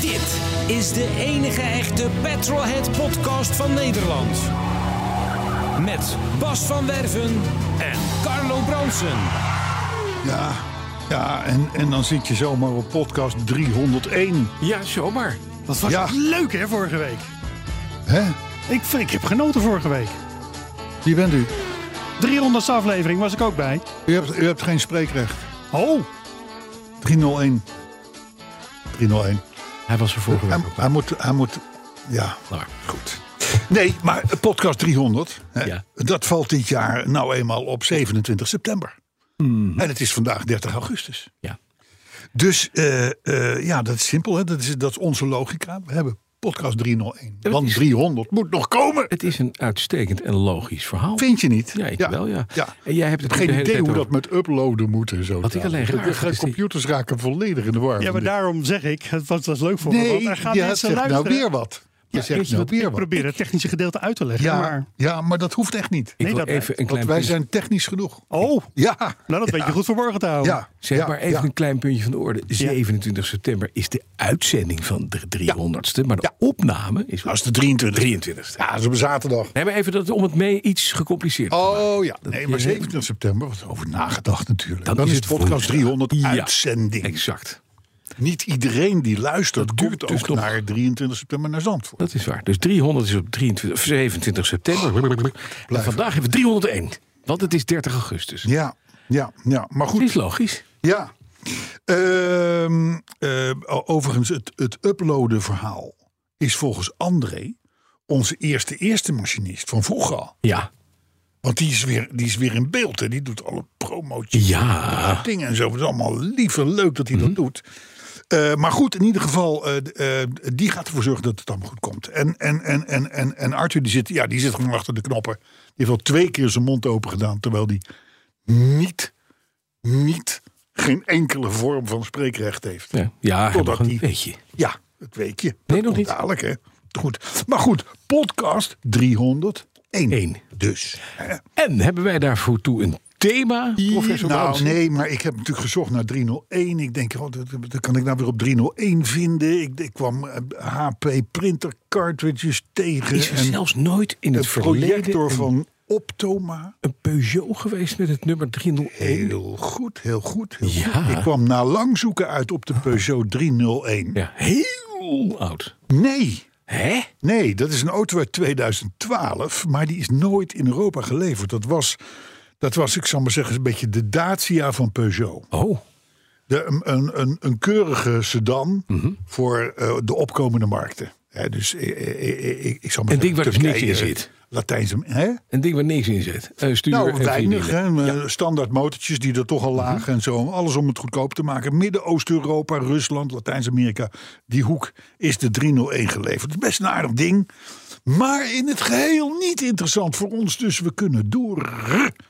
Dit is de enige echte Petrolhead podcast van Nederland. Met Bas van Werven en Carlo Bronsen. Ja, ja en, en dan zit je zomaar op podcast 301. Ja, zomaar. Dat was Ja. echt leuk hè, vorige week. Hè? Ik, vind- ik heb genoten vorige week. Wie bent u? 300ste aflevering was ik ook bij. U hebt, u hebt geen spreekrecht. Oh, 301. 301. Hij was er vorige Hij, week ook bij. hij moet, hij moet, ja, Maar goed. Nee, maar podcast 300, hè, Ja. dat valt dit jaar nou eenmaal op 27 september. En het is vandaag 30 augustus. Mm. Ja. Dus eh, eh, ja, dat is simpel. Hè? Dat, is, dat is onze logica. We hebben podcast 301. dat Want is- 300 moet nog komen. Het is een uitstekend en logisch verhaal. Vind je niet? Ja, ik wel, ja. ja. En jij hebt het Geen de hele idee tijd hoe dat over- met uploaden moet en zo. Wat ik alleen raar De, vind is die- computers raken volledig in de war. ja, maar daarom zeg ik, het was, was leuk voor me. Nee, Want je er gaan zegt mensen nou luisteren. weer wat. Je weet zegt je nou wat, weer Ik wat. probeer het technische gedeelte uit te leggen. Ja, Maar, ja, maar dat hoeft echt niet. Ik Nee, wil dat even een Want klein wij puntje, zijn technisch genoeg. oh, Ja. nou dat weet je goed verborgen te houden. Ja. zeg ja, maar even ja. een klein puntje van de orde. 27 september is de uitzending van de 300ste. Maar de opname is... Dat is de 23. 23ste. Ja, dat is op zaterdag. Nee, maar even dat, om het mee iets gecompliceerd te maken. Oh ja. Nee, maar je- 27 september wordt over nagedacht natuurlijk. Dan, Dan is is het het podcast woensdag. 300 Ja. uitzending. Exact. Niet iedereen die luistert komt duurt dus ook nog. naar 23 september naar Zandvoort. Dat is waar. Dus 300 is op 23, 27 september. en vandaag hebben we 301. Want het is 30 augustus. Ja, ja, ja. Maar goed. Het is logisch. Ja. Ehm, eh, o- overigens, het, het uploaden verhaal is volgens André onze eerste eerste machinist van vroeger al. Ja. Want die is weer, die is weer in beeld. Hè. Die doet alle promotjes Ja. dingen en zo. Het is allemaal lief en leuk dat hij Mhm. dat doet. Eh, maar goed, in ieder geval, eh, d- eh, die gaat ervoor zorgen dat het allemaal goed komt. En, en, en, en, en, en Arthur, die zit, ja, die zit gewoon achter de knoppen. Die heeft al twee keer zijn mond open gedaan. Terwijl die niet, niet, geen enkele vorm van spreekrecht heeft. Ja, ja Totdat nog een die- beetje. Ja, het weet je. Dat nog komt niet. Dadelijk, hè. Goed. Maar goed, podcast 301. Eén. Dus. hè. En hebben wij daarvoor toe een thema, professor nou, Bransen? nee, maar ik heb natuurlijk gezocht naar 301. Ik denk, oh, dat, dat kan ik nou weer op 301 vinden. Ik, ik kwam eh, HP printer cartridges tegen. Is er en zelfs nooit in het, een verleden projector een, van Optoma. een Peugeot geweest met het nummer 301? Heel goed, heel goed. Heel Ja. goed. Ik kwam na lang zoeken uit op de Peugeot 301. Ja, heel oud. Nee, Hè? Nee, dat is een auto uit 2012, maar die is nooit in Europa geleverd. Dat was, dat was ik zal maar zeggen, een beetje de Dacia van Peugeot. Oh, De, een, een, een, een keurige sedan voor eh, de opkomende markten. Hè, dus eh, eh, eh, ik, ik zal maar Een ding zeggen, waar dus niks in Turkije, zit. Latijns, hè? een ding waar niks in zit. Eh, stuur Nou, en weinig. vierwielen. Hè? Eh, Standaard motortjes die er toch al lagen en zo. Alles om het goedkoop te maken. Midden-Oost-Europa, Rusland, Latijns-Amerika. Die hoek is de 301 geleverd. Het is best een aardig ding. Maar in het geheel niet interessant voor ons. Dus we kunnen door.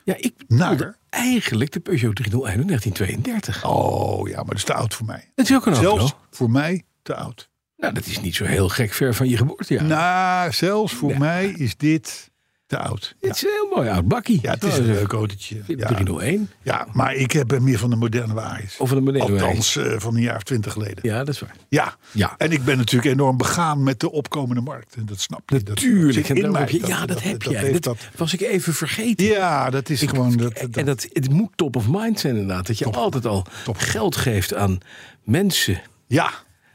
Ja, ik Naar- bedoelde eigenlijk de Peugeot 301 uit 1932. Oh ja, maar dat is te oud voor mij. Dat is ook een Zelfs auto. voor mij te oud. Nou, dat is niet zo heel gek ver van je geboortejaar. Nou, zelfs voor mij is dit te oud. het is een heel mooi oud bakkie. Ja, het is een Nou, leuk autootje. Ja. 301. ja, maar ik heb eh, meer van de moderne wagens. Of van de moderne wagens. Althans, eh, van een jaar of twintig geleden. Ja, dat is waar. Ja. Ja. en ik ben natuurlijk enorm begaan met de opkomende markt. En dat snap je. Dat- dat Tuurlijk. zit en in daarom mij. heb je, ja, dat, heb jij. heeft Dat, dat- was ik even vergeten. ja, dat is gewoon... Dat, dat, en dat, het moet top of mind zijn inderdaad. Dat je altijd al geld geeft aan mensen ja,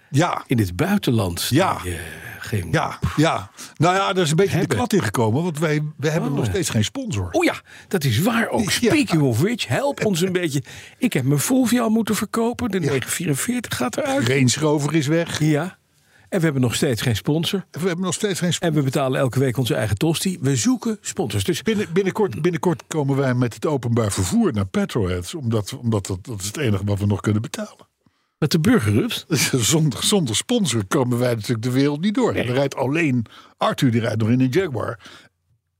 ja, in het buitenland. Ja. Die, eh, geen... ja, ja. Nou ja, daar is een beetje de Hebben. klad ingekomen. Want wij, wij hebben nog steeds geen sponsor. Oh ja, dat is waar ook. Ja. Speaking of which, help ons een beetje. Ik heb mijn Fulvia moeten verkopen. De 944 gaat eruit. Range Rover is weg. Ja. En we hebben nog steeds geen sponsor. We hebben nog steeds geen En we betalen elke week onze eigen tosti. We zoeken sponsors. Dus Binnen, binnenkort, binnenkort komen wij met het openbaar vervoer naar Petroheads. Omdat, omdat dat, dat is het enige wat we nog kunnen betalen. met de burgerrups. Zonder, zonder sponsor komen wij natuurlijk de wereld niet door. Er rijdt alleen Arthur, die rijdt nog in een Jaguar.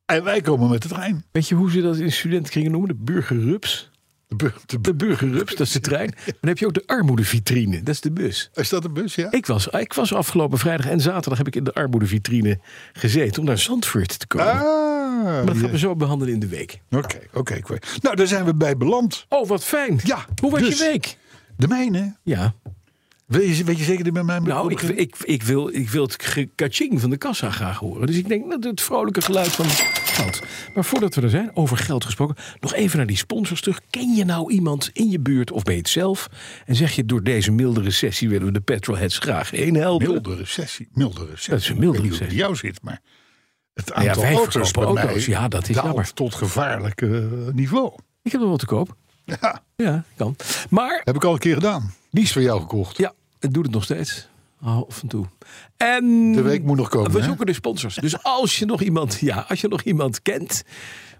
En wij komen met de trein. Weet je hoe ze dat in studentenkringen noemen? De burgerrups. De bur- de bur- De burgerrups, dat is de trein. Maar dan heb je ook de armoedevitrine. Dat is de bus. is dat een bus? Ja. Ik was, ik was afgelopen vrijdag en zaterdag heb ik in de armoedevitrine gezeten om naar Zandvoort te komen. maar Ah, dat gaan ja. we zo behandelen in de week. Oké, oké. oké. Nou, daar zijn we bij beland. Oh, wat fijn. Ja, Hoe was dus- je week? De mijne. Ja. Weet je, weet je zeker die bij mij Nou, ik, ik, ik, wil, ik wil het ge- kaching van de kassa graag horen. Dus ik denk dat het vrolijke geluid van geld. Maar voordat we er zijn, over geld gesproken, nog even naar die sponsors terug. Ken je nou iemand in je buurt of ben je het zelf? En zeg je, door deze milde recessie willen we de petrolheads graag heen helpen. Milde recessie. Milde recessie. Dat is een milde Ik weet niet hoe het bij jou recessie. zit, maar het ja, aantal wij auto's bij verkopen auto's. mij Ja, dat is daalt jammer. tot gevaarlijk eh, niveau. Ik heb nog wat te koop. Ja, Ja, kan. Maar heb ik al een keer gedaan. Die is voor jou gekocht. ja, het doet het nog steeds. Oh, Af en toe. En De week moet nog komen. We hè? zoeken de sponsors. Dus als je nog iemand, ja, als je nog iemand kent.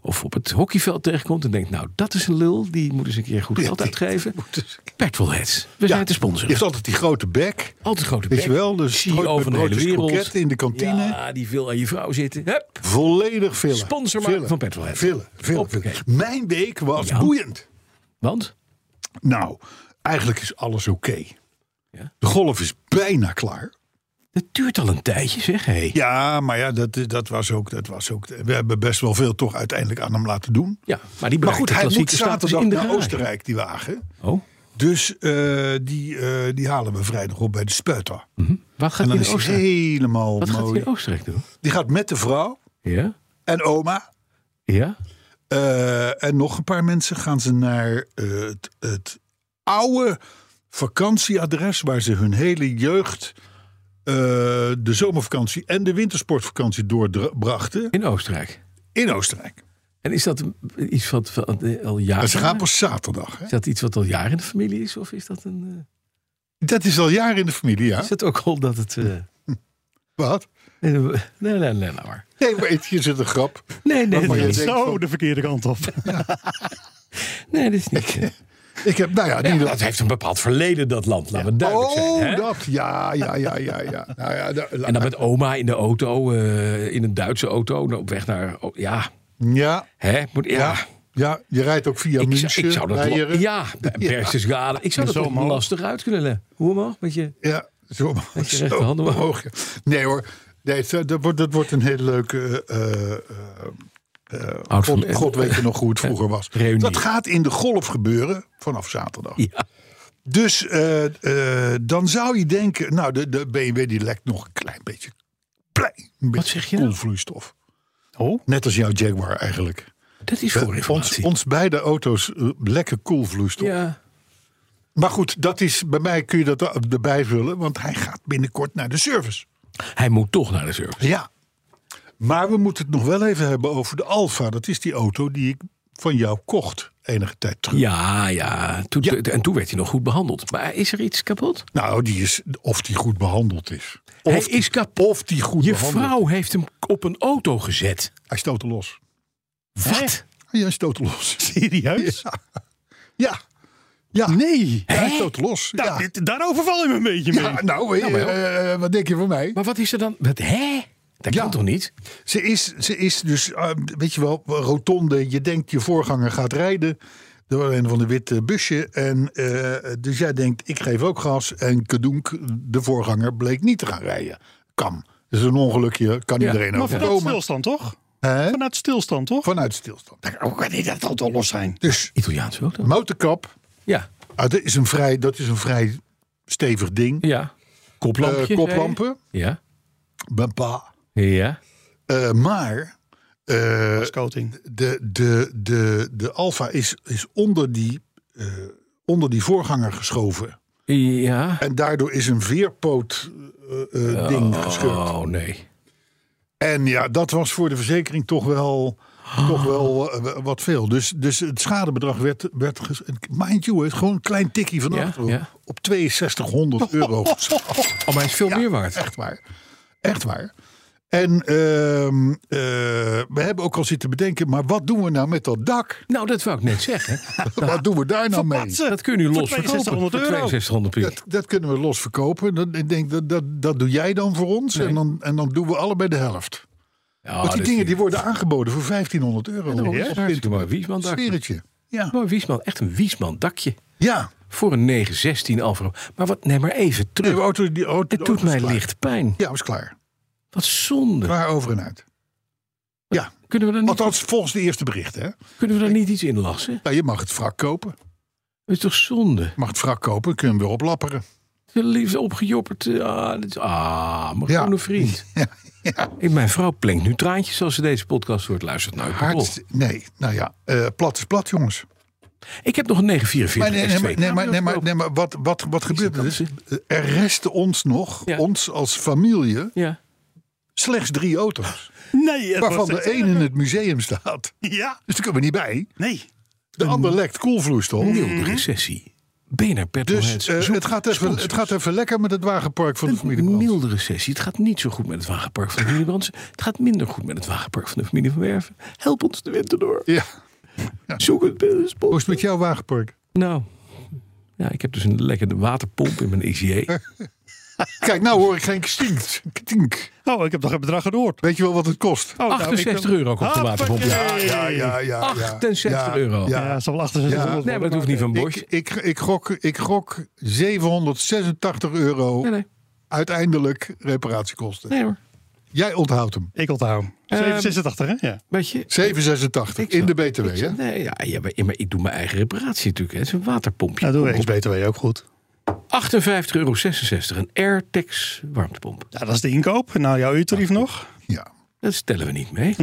Of op het hockeyveld tegenkomt en denkt, nou, dat is een lul. Die moet eens een keer goed geld die- uitgeven. moet eens- Petrolheads. We zijn de sponsor. Je hebt altijd die grote bek. Altijd grote Weet bek. je wel, dus CEO brood- van de hele broodjes wereld. kroketten in de kantine. Ja, die veel aan je vrouw zitten. Hup. Volledig vullen. Sponsor maken Vullen. van Petrolhead. Vullen, vullen, vullen. Hoppakee. Mijn week was Ja. boeiend. Want? Nou, eigenlijk is alles oké. Ja. De golf is bijna klaar. Het duurt al een tijdje, zeg. Hey. Ja. Ja, maar ja, dat, dat, was ook, dat was ook. We hebben best wel veel toch uiteindelijk aan hem laten doen. maar die Maar bereikt goed, de hij moet klassieke status zaterdag in de naar garage. Oostenrijk, die wagen. Oh, Dus eh, die, eh, die halen we vrijdag op bij de Speuter. mhm. wat En gaat hij dan in is hij Oostenrijk? helemaal Wat gaat hij mooi. in Oostenrijk doen? Die gaat met de vrouw Ja? en oma. Ja? eh, en nog een paar mensen gaan ze naar eh, het, het oude vakantieadres... waar ze hun hele jeugd eh, de zomervakantie en de wintersportvakantie doorbrachten In Oostenrijk. in Oostenrijk. En is dat een- iets wat wat, eh, al jaren... Maar ze gaan pas zaterdag. Hè? Is dat iets wat al jaren in de familie is? Of is dat een. eh, Dat is al jaren in de familie, ja. Is het ook al dat het. eh, Wat? nee, nee, nee, nee, nee, maar. Nee, maar het- hier zit een grap. Nee, nee, Maar nee, je nee, denkt Zo van- de verkeerde kant op. nee, dat is niet. eh, Ik heb, nou ja, niet ja, dat heeft een bepaald verleden, dat land, laten we duidelijk oh, zijn. Hè? dat. Ja, ja, ja, ja. ja. Nou ja, da- En dan met oma in de auto, eh, in een Duitse auto, nou, op weg naar. oh, ja, ja, hè? Moet, ja. ja, ja, je rijdt ook via Ik, München. zou- ik zou dat. lo- Beieren. Ja, Berchtesgaden. Ik zou En dat zo toch omhoog. lastig uit kunnen leggen. Hoe omhoog? Met je. Ja, zo, je zo rechterhand omhoog. omhoog, ja. Nee hoor, nee, het- eh, dat, wordt, dat wordt een hele leuke... eh, eh, eh, Oud- God, God weet je nog hoe het vroeger was. Reunie. Dat gaat in de golf gebeuren vanaf zaterdag. Ja. Dus eh, eh, dan zou je denken, nou, de, de BMW die lekt nog een klein beetje, klein beetje zeg je nou? koelvloeistof. Oh. Net als jouw Jaguar eigenlijk. Dat is voor Eh, ons, informatie. ons beide auto's eh, lekker koelvloeistof. ja. Maar goed, dat is, bij mij kun je dat er- erbij vullen, want hij gaat binnenkort naar de service. Hij moet toch naar de service. Ja. Maar we moeten het nog wel even hebben over de Alfa. Dat is die auto die ik van jou kocht enige tijd terug. Ja, ja. Toen, En toen werd hij nog goed behandeld. Maar is er iets kapot? Nou, die is, of die goed behandeld is. Of Hij die, is kapot. Of die goed Je behandeld vrouw heeft hem op een auto gezet. Hij stootte los. Wat? Ja, hij stootte Ah, los. Serieus? Ja. Ja. Nee. Hij Hè? stootte los. Nou, Ja. dit- daar overval je me een beetje mee. Ja, nou, eh, eh, wat denk je van mij? Maar wat is er dan? Wat, hè? Dat Ja. kan toch niet? Ze is, ze is dus, eh, weet je wel, rotonde. Je denkt je voorganger gaat rijden. Door een van de witte busje. En, eh, dus jij denkt, ik geef ook gas. En kadoenk, de voorganger, bleek niet te gaan rijden. Kan. Dus een ongelukje, kan Ja, iedereen Maar vanuit overkomen. stilstand, toch? Hè? Vanuit stilstand, toch? Vanuit stilstand. Hoe kan die dat auto los zijn? Dus Italiaans ook dan? motorkap, Ja. ah, dat, is een vrij, dat is een vrij stevig ding. Ja. Koplampjes. Eh, zei je? koplampen, Ja. bampa. Ja. Eh, maar eh, Scoting. de, de, de, de Alfa is, is onder, die, eh, onder die voorganger geschoven. Ja. En daardoor is een veerpoot eh, eh, ding gescheurd. Oh nee. En ja, dat was voor de verzekering toch wel. toch wel eh, wat veel. Dus, dus het schadebedrag werd, werd ges- mind you, het gewoon een klein tikkie vannacht Ja, ja. op 6200 euro. Oh, maar hij is veel meer waard. Echt waar. Echt waar. En ehm, eh, we hebben ook al zitten bedenken, maar wat doen we nou met dat dak? Nou, dat wou ik net zeggen. wat doen we daar nou mee? Dat kun je nu los Voor verkopen. 6200 euro. 6200 piek. Dat, dat kunnen we los verkopen. Dat, ik denk, dat, dat, dat doe jij dan voor ons. En, dan, en dan doen we allebei de helft. Ja, Want dat die is- dingen die worden aangeboden voor 1500 euro. daarom is het hartstikke mooi. Wiesman dak. Sferetje. Ja. Mooi Wiesman, echt een Wiesman dakje. ja. Voor een 916 Alfa. Romeo. Maar wat, nee, maar even terug. Nee, de auto, die auto, de het auto doet is mij klaar. licht pijn. Ja, was klaar. Wat zonde. Klaar over en uit. Ja, Kunnen we daar niet, althans volgens de eerste berichten. Hè? kunnen we daar niet iets in lassen? Nou, je mag het wrak kopen. Dat is toch zonde? Je mag het wrak kopen, kun je hem weer oplapperen. De liefde opgejopperd. eh, Ah, dat is- ah mijn Ja. groene vriend. Ja, ja. Ik- Mijn vrouw plenkt nu traantjes als ze deze podcast hoort. Luistert nou, ik bedoel. Hard, nee, nou ja, eh, plat is plat, jongens. Ik heb nog een 944 Maar nee, nee, maar, S2. nee, maar, nee, maar, nee, maar wat, wat, wat gebeurt er? dus? Er resten ons nog, Ja. ons als familie, Ja. slechts drie auto's. Nee, het Waarvan was de echt- één in het museum staat. Ja, Dus daar kunnen we niet bij. nee. De ander lekt koelvloeistof. Milde recessie. BNR Petrolheads. Mhm. Dus eh, zoekt het, gaat even, sponsors. het gaat even lekker met het wagenpark van de familie Een Brandt. milde recessie. Het gaat niet zo goed met het wagenpark van de familie Brands. Het gaat minder goed met het wagenpark van de familie van Werven. Help ons de winter door. Ja. Zoek het eh, Hoe sponsor. is het met jouw wagenpark? Nou, ja, ik heb dus een lekkere waterpomp in mijn E. ICA. Kijk, nou hoor ik geen kstink. Ktink. Oh, ik heb nog een bedrag gehoord. Weet je wel wat het kost? Oh, nou, ik- 68 euro kost de waterpomp. Hoppakee. ja. 68 Ja, euro. Ja, Ja, dat zal wel 68 Ja. worden. Nee, maar dat hoeft niet van Bosch. Ik, ik, ik, gok, ik gok 786 euro Nee, nee. uiteindelijk reparatiekosten. Nee hoor. Jij onthoudt hem. Ik onthoud hem. Ehm, 786, hè? Ja. Nou, Weet je? 786 Ik zou- in de BTW, hè? Nee, ja, ja, maar, maar ik doe mijn eigen reparatie natuurlijk. hè. Het is een waterpompje. Nou, doen we ex-BTW ook goed. 58,66 euro. Een AirTex warmtepomp. Ja, dat is de inkoop. Nou, jouw uurtarief nog? Ja. Dat stellen we niet mee.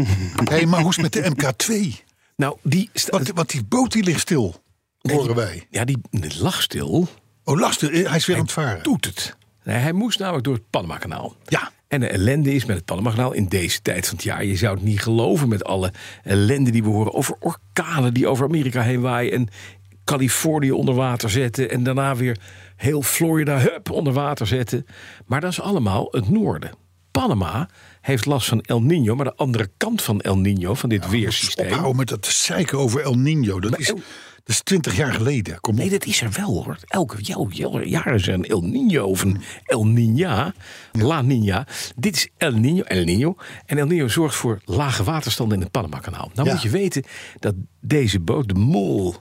Hey, maar hoe is het met de MK2? Nou, die, sta- Want, want die boot die ligt stil, horen wij. ja, die die lag stil. Oh, lastig. Hij is weer aan het varen. doet het. Nee, hij moest namelijk door het Panama-kanaal. Ja. En de ellende is met het Panama-kanaal in deze tijd van het jaar. Je zou het niet geloven met alle ellende die we horen over orkanen die over Amerika heen waaien. En Californië onder water zetten. En daarna weer heel Florida hup, onder water zetten. Maar dat is allemaal het noorden. Panama heeft last van El Nino, maar de andere kant van El Nino, van dit weersysteem. Ophouden met dat zeiken over El Nino. Dat is, dat is 20 jaar geleden. Kom op. oh. Nee, dat is er wel hoor. Elke jou- jou- jaar is er een El Niño of een El Niña. La Niña. Dit is El Niño. El Niño. En El Niño zorgt voor lage waterstanden in het Panama-kanaal. Nou Ja. moet je weten dat deze boot, de Mol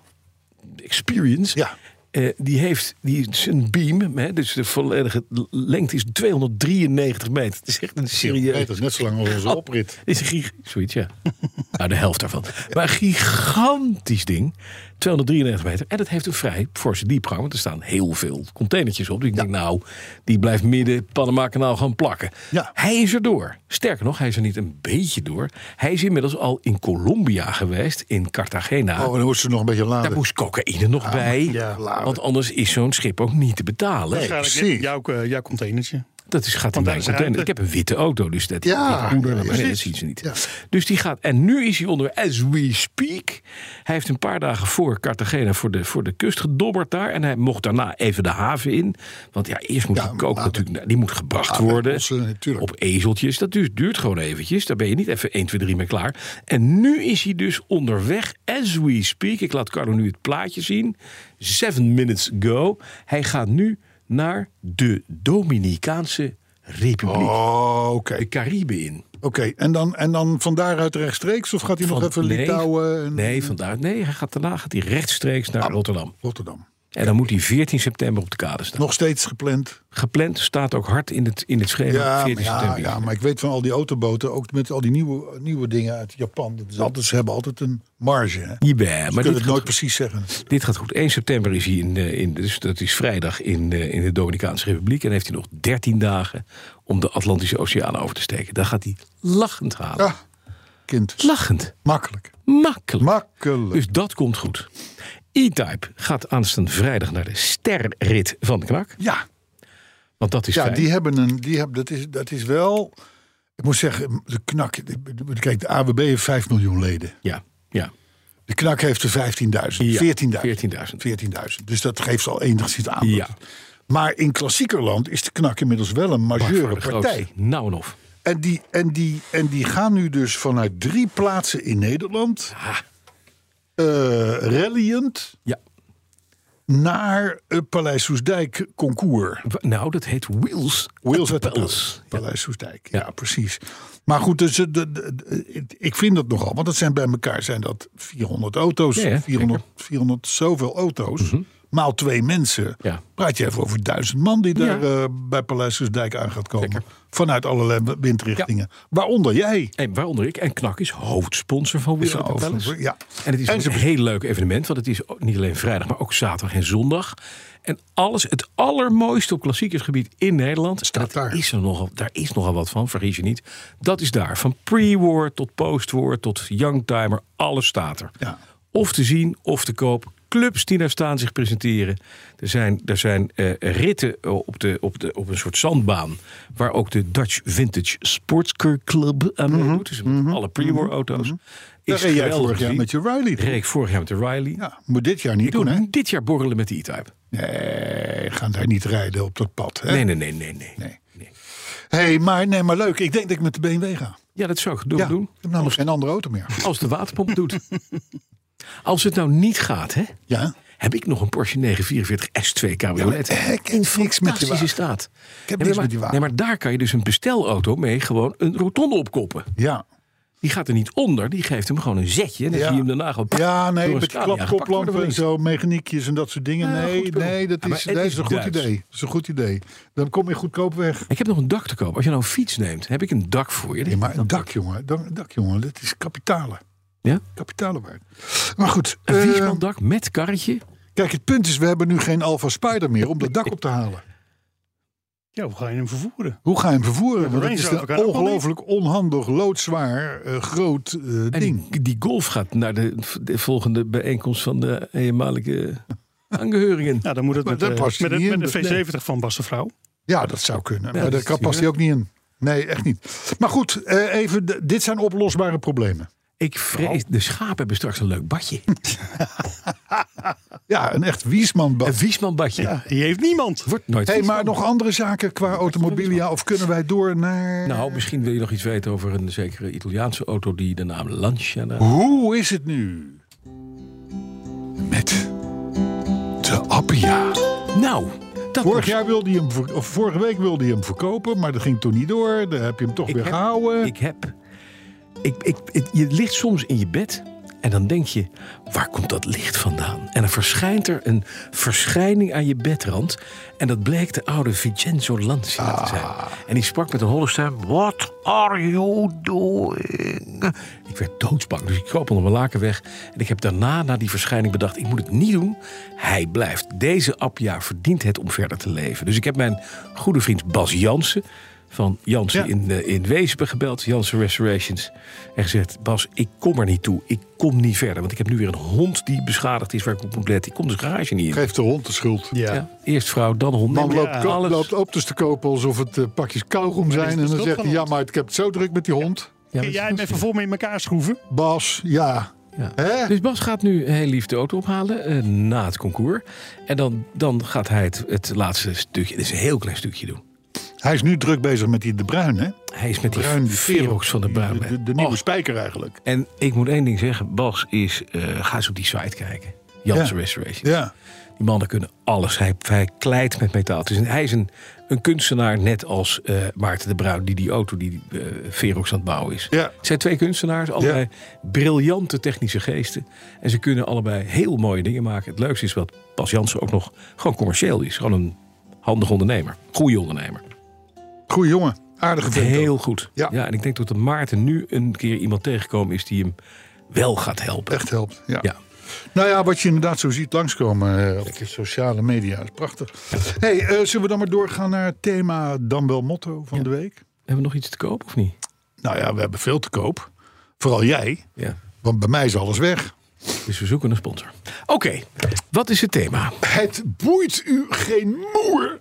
Experience... Ja. eh, die heeft die is een beam, hè, dus de volledige lengte is 293 meter. Het is echt een serieus Oh. Dat is net zo lang als onze oprit. is een gig... Zoiets, ja. nou, de helft daarvan. Maar een gigantisch ding. 293 meter. En dat heeft een vrij forse diepgang. Want er staan heel veel containertjes op. Dus ik denk, nou, die blijft midden het Panama-kanaal gaan plakken. Ja. Hij is er door. Sterker nog, hij is er niet een beetje door. Hij is inmiddels al in Colombia geweest. In Cartagena. Oh, dan moest ze nog een beetje Daar laden. moest cocaïne nog bij. ja, laden. want anders is zo'n schip ook niet te betalen. Waarschijnlijk precies. jouw, eh, jouw containertje. Dat is, gaat daar in mijn is container. Ik ruimte. heb een witte auto, dus dat, Ja, die poeder ja, naar beneden, dat precies. zien ze niet. Ja. Dus die gaat, en nu is hij onder as we speak. Hij heeft een paar dagen voor Cartagena voor de, voor de kust gedobberd daar. En hij mocht daarna even de haven in. Want ja, eerst moet Ja, die kook maar- natuurlijk, naar- die moet gebracht Ja, met worden. bossen, natuurlijk. op ezeltjes, dat duurt, duurt gewoon eventjes. Daar ben je niet even 1, 2, 3 mee klaar. En nu is hij dus onderweg, as we speak. Ik laat Carlo nu het plaatje zien. Seven minutes go. Hij gaat nu naar de Dominicaanse Republiek. Oh, oké. De Cariben in. Oké, en, dan, en dan van daaruit rechtstreeks? Of gaat hij nog even Litouwen en Nou. Nee, vandaar, nee, hij gaat daarna gaat hij rechtstreeks naar Rotterdam. Rotterdam? En dan moet hij 14 september op de kade staan. Nog steeds gepland. Gepland staat ook hard in het, in het schema. Ja, maar 14 ja, september. ja, maar ik weet van al die autoboten, ook met al die nieuwe, nieuwe dingen uit Japan. Dat is altijd, ze hebben altijd een marge. Hè? Jawel, maar Maar kunnen dit het gaat nooit precies zeggen. Dit gaat goed. 1 september is hij in, eh, in dus dat is vrijdag in, eh, in de Dominicaanse Republiek. En heeft hij nog 13 dagen om de Atlantische Oceaan over te steken. Daar gaat hij lachend halen. Ja, kind. Lachend. Makkelijk. Makkelijk. Makkelijk. Dus dat komt goed. E-Type gaat aanstaande vrijdag naar de sterrit van de knak. Ja, Want dat is ja fijn. die hebben een. Die hebben, dat, is, dat is wel. Ik moet zeggen, de knak. de- Kijk, de AWB heeft 5 miljoen leden. Ja, ja. De knak heeft er 15.000. Ja, 14.000. 14.000. 14.000. Dus dat geeft al enigszins aan. Ja. Ah, Maar in klassiekerland is de knak inmiddels wel een majeure Voor de partij. grootste. Nou en of. En die, en, die, en die gaan nu dus vanuit drie plaatsen in Nederland. eh rallyend Ah, Ja. naar het Paleis Soesdijk concours. W- Nou, dat heet Wheels. Wheels at at the the Palace. Palace. Paleis Soestdijk. Ja, Ja. precies. Maar goed, dus, eh, de, de- de- ik vind dat nogal. Want dat zijn bij elkaar zijn dat 400 auto's. Ja, ja, 400, 400 zoveel auto's. Maal twee mensen. Ja. Praat je even over duizend man die Ja. daar eh, bij Paleis Soestdijk aan gaat komen. Vanuit allerlei windrichtingen. Waaronder jij. En waaronder ik. En Knak is hoofdsponsor van Wheels Is at the een Palace. hoofdsponsor, ja. En het is En een ze- heel leuk evenement. Want het is ook niet alleen vrijdag, maar ook zaterdag en zondag. En alles, het allermooiste op klassiekersgebied in Nederland. Staat En dat daar. Is er nogal, daar is nogal wat van, vergis je niet. Dat is daar. Van pre-war tot post-war tot youngtimer. Alles staat er. Ja. Of te zien, of te koop. Clubs die daar staan zich presenteren. Er zijn, er zijn eh, ritten op, de, op, de, op een soort zandbaan. Waar ook de Dutch Vintage Sportscar Club aan Mhm. meedoet. Dus met alle pre-war auto's. Daar reed Is jij geweldig vorig jaar gezien. met je Riley. toch? Reed ik vorig jaar met de Riley. Ja, moet dit jaar niet Toen doen, hè? dit jaar borrelen met de E-Type. Nee, gaan daar niet rijden op dat pad. Hè? Nee, nee, nee, nee, nee, Nee. Hey, maar, nee, maar leuk. Ik denk dat ik met de BMW ga. Ja, dat zou ik doen. Ja, doen. Ik heb namelijk geen andere auto meer. Als de waterpomp doet. Als het nou niet gaat, hè? Ja. Heb ik nog een Porsche 944 S2 cabriolet? Ja, maar ik heb in niks met die fantastische wagen. staat. Ik heb nee, niks maar, met die wagen. Nee, maar daar kan je dus een bestelauto mee gewoon een rotonde opkoppen. Ja. Die gaat er niet onder, die geeft hem gewoon een zetje. En dan Ja. zie je hem daarna gewoon... Ja, door nee, een met Scania gepakt worden klapkoplampen we en niet. zo, mechaniekjes en dat soort dingen. Ja, Nee, goed spul. nee, dat Ja, maar is, het dat is is een goed Duits. idee. Dat is een goed idee. Dan kom je goedkoop weg. Ik heb nog een dak te koop. Als je nou een fiets neemt, heb ik een dak voor je. Nee, maar een dak, jongen. Dan, een dak, jongen. Dat is kapitalen. Ja? Kapitalen waard. Maar goed. Een eh, Wiesmanndak met karretje. kijk, het punt is, we hebben nu geen Alfa Spider meer om dat dak op te halen. Ja, hoe ga je hem vervoeren? Hoe ga je hem vervoeren? maar Want het Range is Rover kan een ook wel ongelooflijk onhandig, loodzwaar, eh, groot eh, En ding. die, die golf gaat naar de, de volgende bijeenkomst van de eenmalige aangehörigen. Ja, dan moet het Maar met, dat eh, past met, niet de- in, met de dat- V70 van Bas de Vrouw. Ja, dat zou kunnen. maar dat daar is kan- past hij ook niet in. Nee, echt niet. Maar goed, eh, even, de- dit zijn oplosbare problemen. Ik vrees, de schapen hebben straks een leuk badje. Ja, een echt Wiesmanbad. Een Wiesmanbadje. Die heeft niemand. Wordt nooit Hey, maar Wiesman. nog andere zaken qua automobilia? Of kunnen wij door naar... Nou, misschien wil je nog iets weten over een zekere Italiaanse auto die de naam Lancia. Hoe is het nu? Met de Appia. Nou, dat Vorig wordt jaar wilde hij hem, ver- of vorige week wilde hij hem verkopen, maar dat ging toen niet door. Daar heb je hem toch Ik weer heb- gehouden. Ik heb. Ik, ik, het- je ligt soms in je bed en dan denk je: waar komt dat licht vandaan? En dan verschijnt er een verschijning aan je bedrand. En dat bleek de oude Vincenzo Lancia te zijn. Ah. En die sprak met een holle stem: What are you doing? Ik werd doodsbang, dus ik kroop onder mijn laken weg. En ik heb daarna, na die verschijning, bedacht: ik moet het niet doen. Hij blijft. Deze Appia verdient het om verder te leven. Dus ik heb mijn goede vriend Bas Jansen van Jansen Ja. in, eh, in Weesp gebeld, Jansen Restorations. En gezegd, Bas, ik kom er niet toe. Ik kom niet verder. Want ik heb nu weer een hond die beschadigd is waar ik op moet letten. Ik kom de garage niet in. Geef de hond de schuld. Ja. Ja, eerst vrouw, dan hond. Man Nee, maar loopt, ko- alles- loopt optes te kopen alsof het eh, pakjes kauwgom is zijn. de En dan schuld zegt van hij, ja, ons. maar ik heb het zo druk met die hond. Ja, Kun dat jij is- hem even voor me in elkaar schroeven? Bas, ja. Ja. Hè? Dus Bas gaat nu heel lief de auto ophalen eh, na het concours. En dan, dan gaat hij het, het laatste stukje, het is een heel klein stukje doen. Hij is nu druk bezig met die De Bruin, hè? Hij is met die Bruin, die Verox van de Bruin. De, de, de nieuwe spijker eigenlijk. En ik moet één ding zeggen, Bas is, eh, ga eens op die site kijken. Jansen Ja. Restoration. Ja. Die mannen kunnen alles. Hij, hij kleit met metaal. Het is een, hij is een, een kunstenaar, net als eh, Maarten de Bruin, die die auto die eh Verox aan het bouwen is. Ja. Het zijn twee kunstenaars, allebei briljante technische geesten. En ze kunnen allebei heel mooie dingen maken. Het leukste is wat Bas Jansen ook nog gewoon commercieel is. Gewoon een handig ondernemer. Goeie ondernemer. Goeie jongen. Aardige vent. ook. Heel goed. Ja. en ik denk dat de Maarten nu een keer iemand tegengekomen is die hem wel gaat helpen. Echt helpt. Ja. Ja. Nou ja, wat je inderdaad zo ziet langskomen eh, op de sociale media is prachtig. hey, eh, zullen we dan maar doorgaan naar het thema dan wel motto van de week? Hebben we nog iets te koop of niet? Nou ja, we hebben veel te koop. Vooral jij, Ja. want bij mij is alles weg. Dus we zoeken een sponsor. Oké, wat is het thema? Het boeit u geen moer,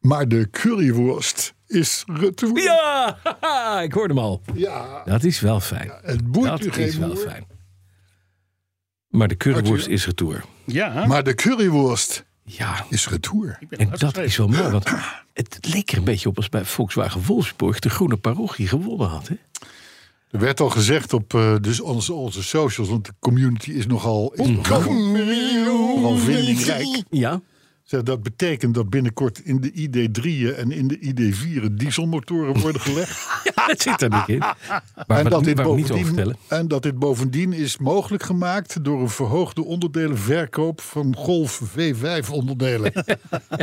maar de curryworst is retour. Ja, haha, ik hoorde hem al. Ja, Dat is wel fijn. het boeit dat u is geen wel moer. fijn. Maar de curryworst Arthur? is retour. Ja, Maar de currywurst Ja, is retour. ik ben en dat uitgeschreven. is wel mooi. Want het leek er een beetje op als bij Volkswagen Wolfsburg de groene parochie gewonnen had. Hè? Er werd al gezegd op eh, dus onze, onze socials, want de community is nogal, is nogal, nogal vindingrijk. Ja, Zeg, dat betekent dat binnenkort in de ID3'en en in de ID4'en dieselmotoren worden gelegd. dat zit er niet in. Maar en, wat- dat dit waar we niet over bovendien, vertellen. en dat dit bovendien is mogelijk gemaakt door een verhoogde onderdelenverkoop van Golf V5 onderdelen.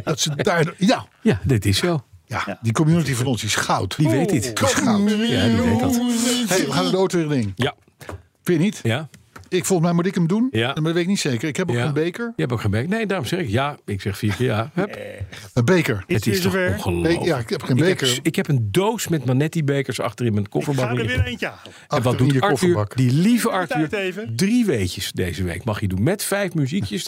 dat ze daar, ja, Ja, dit is zo. ja, die community van ons is goud. Die weet dit. Die is goud. Ja, die weet dat. Hey, we gaan naar de autoherinnering. Ja, Vind je niet? ja. Ik, volgens mij moet ik hem doen. Ja. Maar dat weet ik niet zeker. Ik heb ook ja. een beker. Je hebt ook gemerkt. Nee, daarom zeg ik ja. Ik zeg vier keer ja. Hup. Een beker. Is Het die is toch zover? ongelooflijk. Nee, ja, ik heb geen ik beker. Heb, ik heb een doos met Manetti-bekers achter in mijn Ik ga kofferbak. er liggen. weer eentje halen. En wat Achter in doet je Arthur? kofferbak. Die lieve Tijd Arthur. even. Drie weetjes deze week mag je doen. Met vijf muziekjes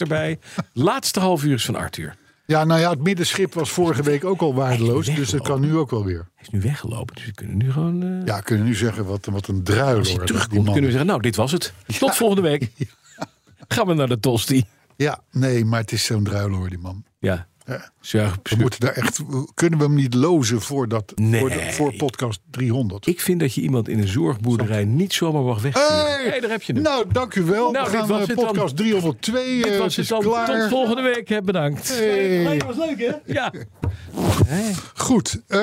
erbij. Laatste half uur is van Arthur. Hij Ja, nou ja, het middenschip was vorige week ook al waardeloos. Dus dat kan nu ook wel weer. is nu weggelopen, dus we kunnen nu gewoon... eh, Ja, kunnen we nu zeggen wat, wat een druil. als hij hoor, terugkomt, die man. kunnen we zeggen, nou, dit was het. Tot volgende week. Gaan we naar de Tosti. Ja, nee, maar het is zo'n druil hoor, die man. Ja. Ja. Zuig, We moeten daar echt, kunnen we hem niet lozen voor, dat, Nee. voor, dat- voor podcast 300? Ik vind dat je iemand in een zorgboerderij niet zomaar mag wegsturen. Hey! Hey, daar heb je hem. Nou, dank u wel. Nou, we dit gaan was eh, het dan. podcast 302 dit eh, was het is dan. klaar. Tot volgende week. hè. Bedankt. Hey. was leuk, hè? Ja. Goed, eh,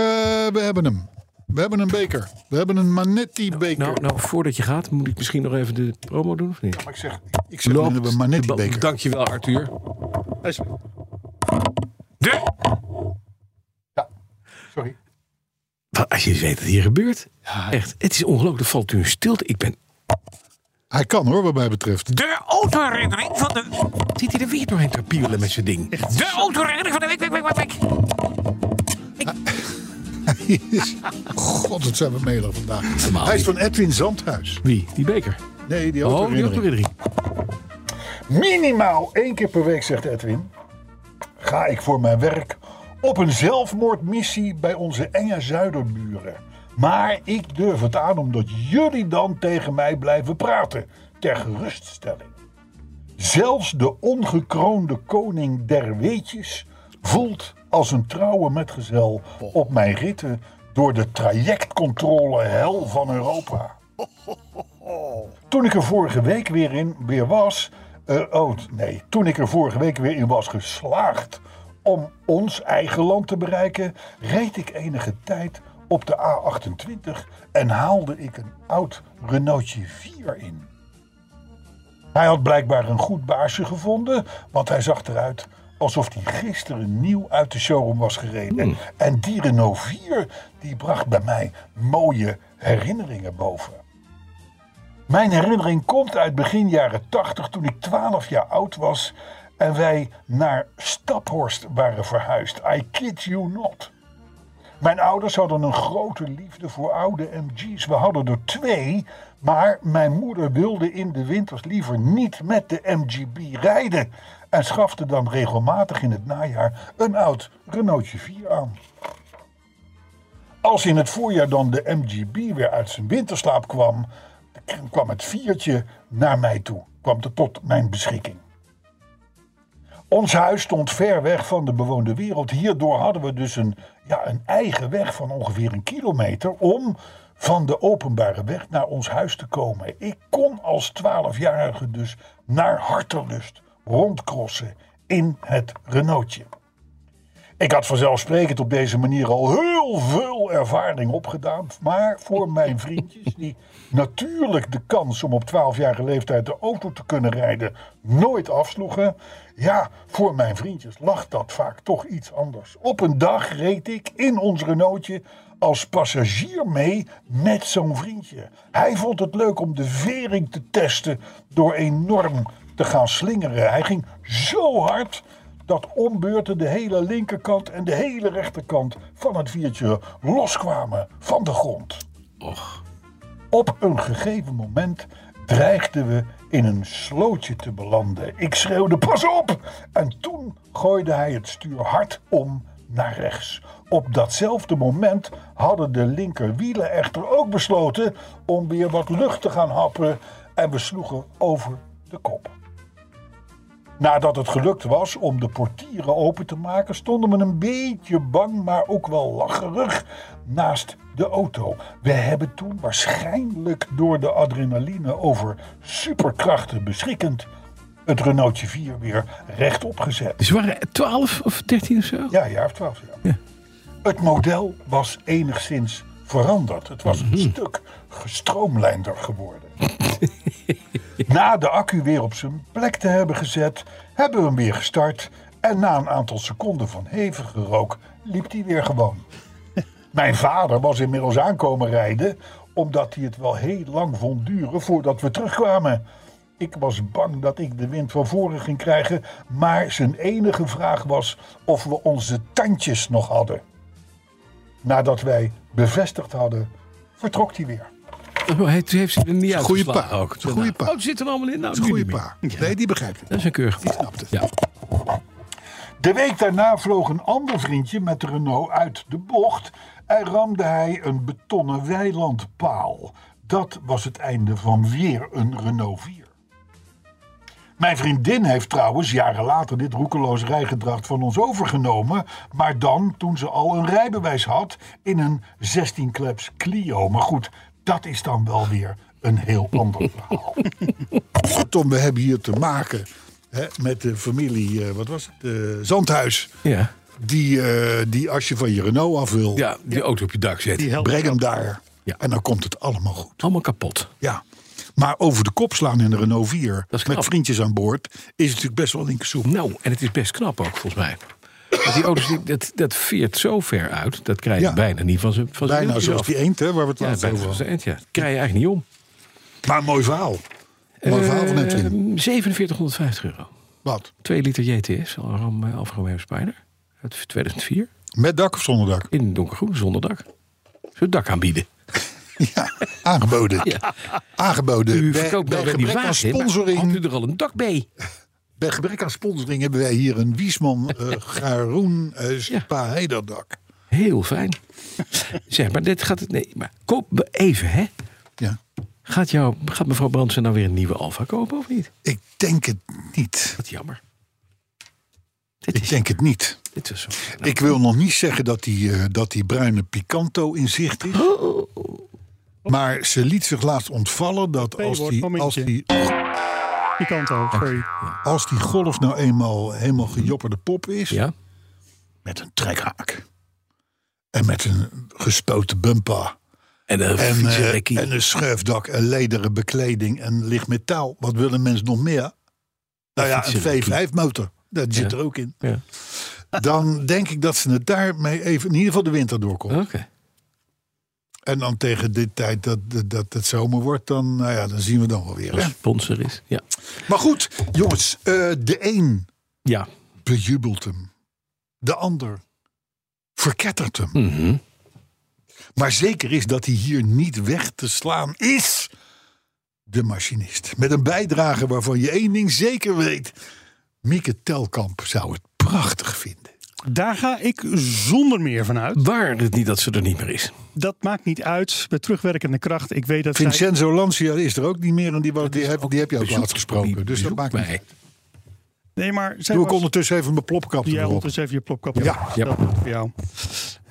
we hebben hem. We hebben een beker. We hebben een Manetti-beker. Nou, nou, voordat je gaat, moet ik misschien nog even de promo doen, of niet? Maar ik zeg, ik zeg we hebben een de ba- Manetti-beker. Dankjewel, Arthur. Hij is- De... Sorry. Wat, als je eens weet wat hier gebeurt. Echt, het is ongelooflijk. Er valt u een stilte. Ik ben Hij kan hoor, wat mij betreft. de autoherinnering van de... Zit hij er weer doorheen te pielen met zijn ding? De autoherinnering van de week, week, week, week, week. God, wat zijn we melig vandaag. Normaal Hij is niet. van Edwin Zandhuis. Wie? Die beker. Nee, die Oh, die autoherinnering. autoherinnering. Minimaal één keer per week, zegt Edwin, ga ik voor mijn werk op een zelfmoordmissie bij onze enge zuiderburen. Maar ik durf het aan omdat jullie dan tegen mij blijven praten, ter geruststelling. Zelfs de ongekroonde koning der weetjes voelt als een trouwe metgezel op mijn ritten door de trajectcontrole hel van Europa. Toen ik er vorige week weer in weer was. eh, oh, nee. Toen ik er vorige week weer in was geslaagd om ons eigen land te bereiken, reed ik enige tijd op de A28 en haalde ik een oud Renaultje 4 in. Hij had blijkbaar een goed baasje gevonden, want hij zag eruit alsof hij gisteren nieuw uit de showroom was gereden. En die Renault 4 die bracht bij mij mooie herinneringen boven. Mijn herinnering komt uit begin jaren 80 toen ik 12 jaar oud was en wij naar Staphorst waren verhuisd. I kid you not. Mijn ouders hadden een grote liefde voor oude MG's. We hadden er twee, maar mijn moeder wilde in de winters liever niet met de MGB rijden. En schafte dan regelmatig in het najaar een oud Renaultje 4 aan. Als in het voorjaar dan de MGB weer uit zijn winterslaap kwam, kwam het viertje naar mij toe, kwam het tot mijn beschikking. Ons huis stond ver weg van de bewoonde wereld. Hierdoor hadden we dus een, ja, een eigen weg van ongeveer een kilometer om van de openbare weg naar ons huis te komen. Ik kon als 12-jarige dus naar hartelust rondkrossen in het Renaultje. Ik had vanzelfsprekend op deze manier al heel veel ervaring opgedaan. Maar voor mijn vriendjes, die natuurlijk de kans om op 12-jarige leeftijd de auto te kunnen rijden nooit afsloegen. Ja, voor mijn vriendjes lag dat vaak toch iets anders. Op een dag reed ik in ons Renaultje als passagier mee met zo'n vriendje. Hij vond het leuk om de vering te testen door enorm te gaan slingeren. Hij ging zo hard dat ombeurten de hele linkerkant en de hele rechterkant van het viertje loskwamen van de grond. Op een gegeven moment dreigden we in een slootje te belanden. Ik schreeuwde: Pas op! En toen gooide hij het stuur hard om naar rechts. Op datzelfde moment hadden de linkerwielen echter ook besloten om weer wat lucht te gaan happen en we sloegen over de kop. Nadat het gelukt was om de portieren open te maken, stonden we een beetje bang, maar ook wel lacherig naast de auto. We hebben toen waarschijnlijk door de adrenaline over superkrachten beschikkend het Renaultje 4 weer rechtop gezet. Dus ze waren 12 of 13 of zo? Ja, jaar of twaalf. Ja. Het model was enigszins veranderd. Het was een stuk gestroomlijnder geworden. na de accu weer op zijn plek te hebben gezet, hebben we hem weer gestart. En na een aantal seconden van hevige rook liep hij weer gewoon. Mijn vader was inmiddels aankomen rijden, omdat hij het wel heel lang vond duren voordat we terugkwamen. Ik was bang dat ik de wind van voren ging krijgen, maar zijn enige vraag was of we onze tandjes nog hadden. Nadat wij bevestigd hadden, vertrok hij weer. Oh, hij toen heeft ze er niet uit. goeie pa. Ook. Het is een goeie pa. Oh, het zit er allemaal in. Nou, Dat is een nu goede niet meer. pa. Nee, die begrijpt het. Dat is een keurige Die pa. snapt het. Ja. De week daarna vloog een ander vriendje met de Renault uit de bocht en ramde hij een betonnen weilandpaal. Dat was het einde van weer een Renault 4. Mijn vriendin heeft trouwens jaren later dit roekeloos rijgedrag van ons overgenomen, maar dan, toen ze al een rijbewijs had, in een 16-kleps Clio. Maar goed, dat is dan wel weer een heel ander verhaal. Tom, we hebben hier te maken hè, met de familie, eh, wat was het? Eh, Zandhuis. Ja. Die, eh, die als je van je Renault af wil, ja, die auto op je dak zetten. Die helpt. breng hem daar. Ja. En dan komt het allemaal goed. Allemaal kapot. Ja. Maar over de kop slaan in de Renault 4 Dat is knap. met vriendjes aan boord is natuurlijk best wel linkersoep. Nou, en het is best knap ook, volgens mij. Want die auto's, die- dat, dat veert zo ver uit. Dat krijg je Ja. bijna niet van zijn van zijn Bijna wieltjes zoals af. die eend, hè, waar we het Ja, laatst bijna over zoals hadden. de eend, ja. Dat krijg je eigenlijk niet om. Maar mooi verhaal. Mooi verhaal van Edwin. Eh, 4750 euro. Wat? 2 liter JTS, een Ram eh, Alfa Romeo Spider. Uit 2004. Met dak of zonder dak? In donkergroen, zonder dak. Zullen we dak aanbieden? Ja, aangeboden. Aangeboden. U Bij- verkoopt bij wel weer die gebrek aan wagen, maar sponsoring. had u er al een dak bij? Bij gebrek aan sponsoring hebben wij hier een Wiesman eh Garoen eh Spa Heiderdak. Heel fijn. zeg, maar dit gaat het... Nee, maar koop be- even, hè. Ja. Gaat, jou, gaat mevrouw Brandsen nou weer een nieuwe Alfa kopen of niet? Ik denk het niet. Wat jammer. Dit Ik is, denk het niet. dit is zo. Nou, Ik wil nog niet zeggen dat die, eh, dat die bruine Picanto in zicht is. Oh. Maar ze liet zich laatst ontvallen dat als die, P-woord, als die, Die kant ook, sorry. als die golf nou eenmaal helemaal gejopperde pop is. Ja? Met een trekhaak. En met een gespoten bumper. En een En, eh, fietsenrekkie. en een schuifdak en lederen bekleding en licht metaal. Wat willen mensen nog meer? Nou ja, een fietsenrekkie. V5-motor. Dat zit Ja. er ook in. Ja. Dan denk ik dat ze het daarmee even in ieder geval de winter doorkomt. eh, Oké. En dan tegen dit tijd dat, dat, dat het zomer wordt, dan, nou ja, dan zien we dan wel weer. Als hè. sponsor is. Ja. Maar goed, jongens, eh, de een Ja. bejubelt hem. De ander verkettert hem. Mhm. Maar zeker is dat hij hier niet weg te slaan is. De machinist. Met een bijdrage waarvan je één ding zeker weet. Mieke Telkamp zou het prachtig vinden. Daar ga ik zonder meer van uit. Waar het niet dat ze er niet meer is. Dat maakt niet uit. Met terugwerkende kracht. Ik weet dat zij- Vincenzo Lancia is er ook niet meer. En die, was, die, heb, die heb je ook laatst gesproken. Dus dat maakt niet mij. Nee, maar zij Doe ik was- ondertussen even mijn plopkap Jij erop. houdt dus even je plopkap. Ja. op. Ja. Dat doe ik voor jou.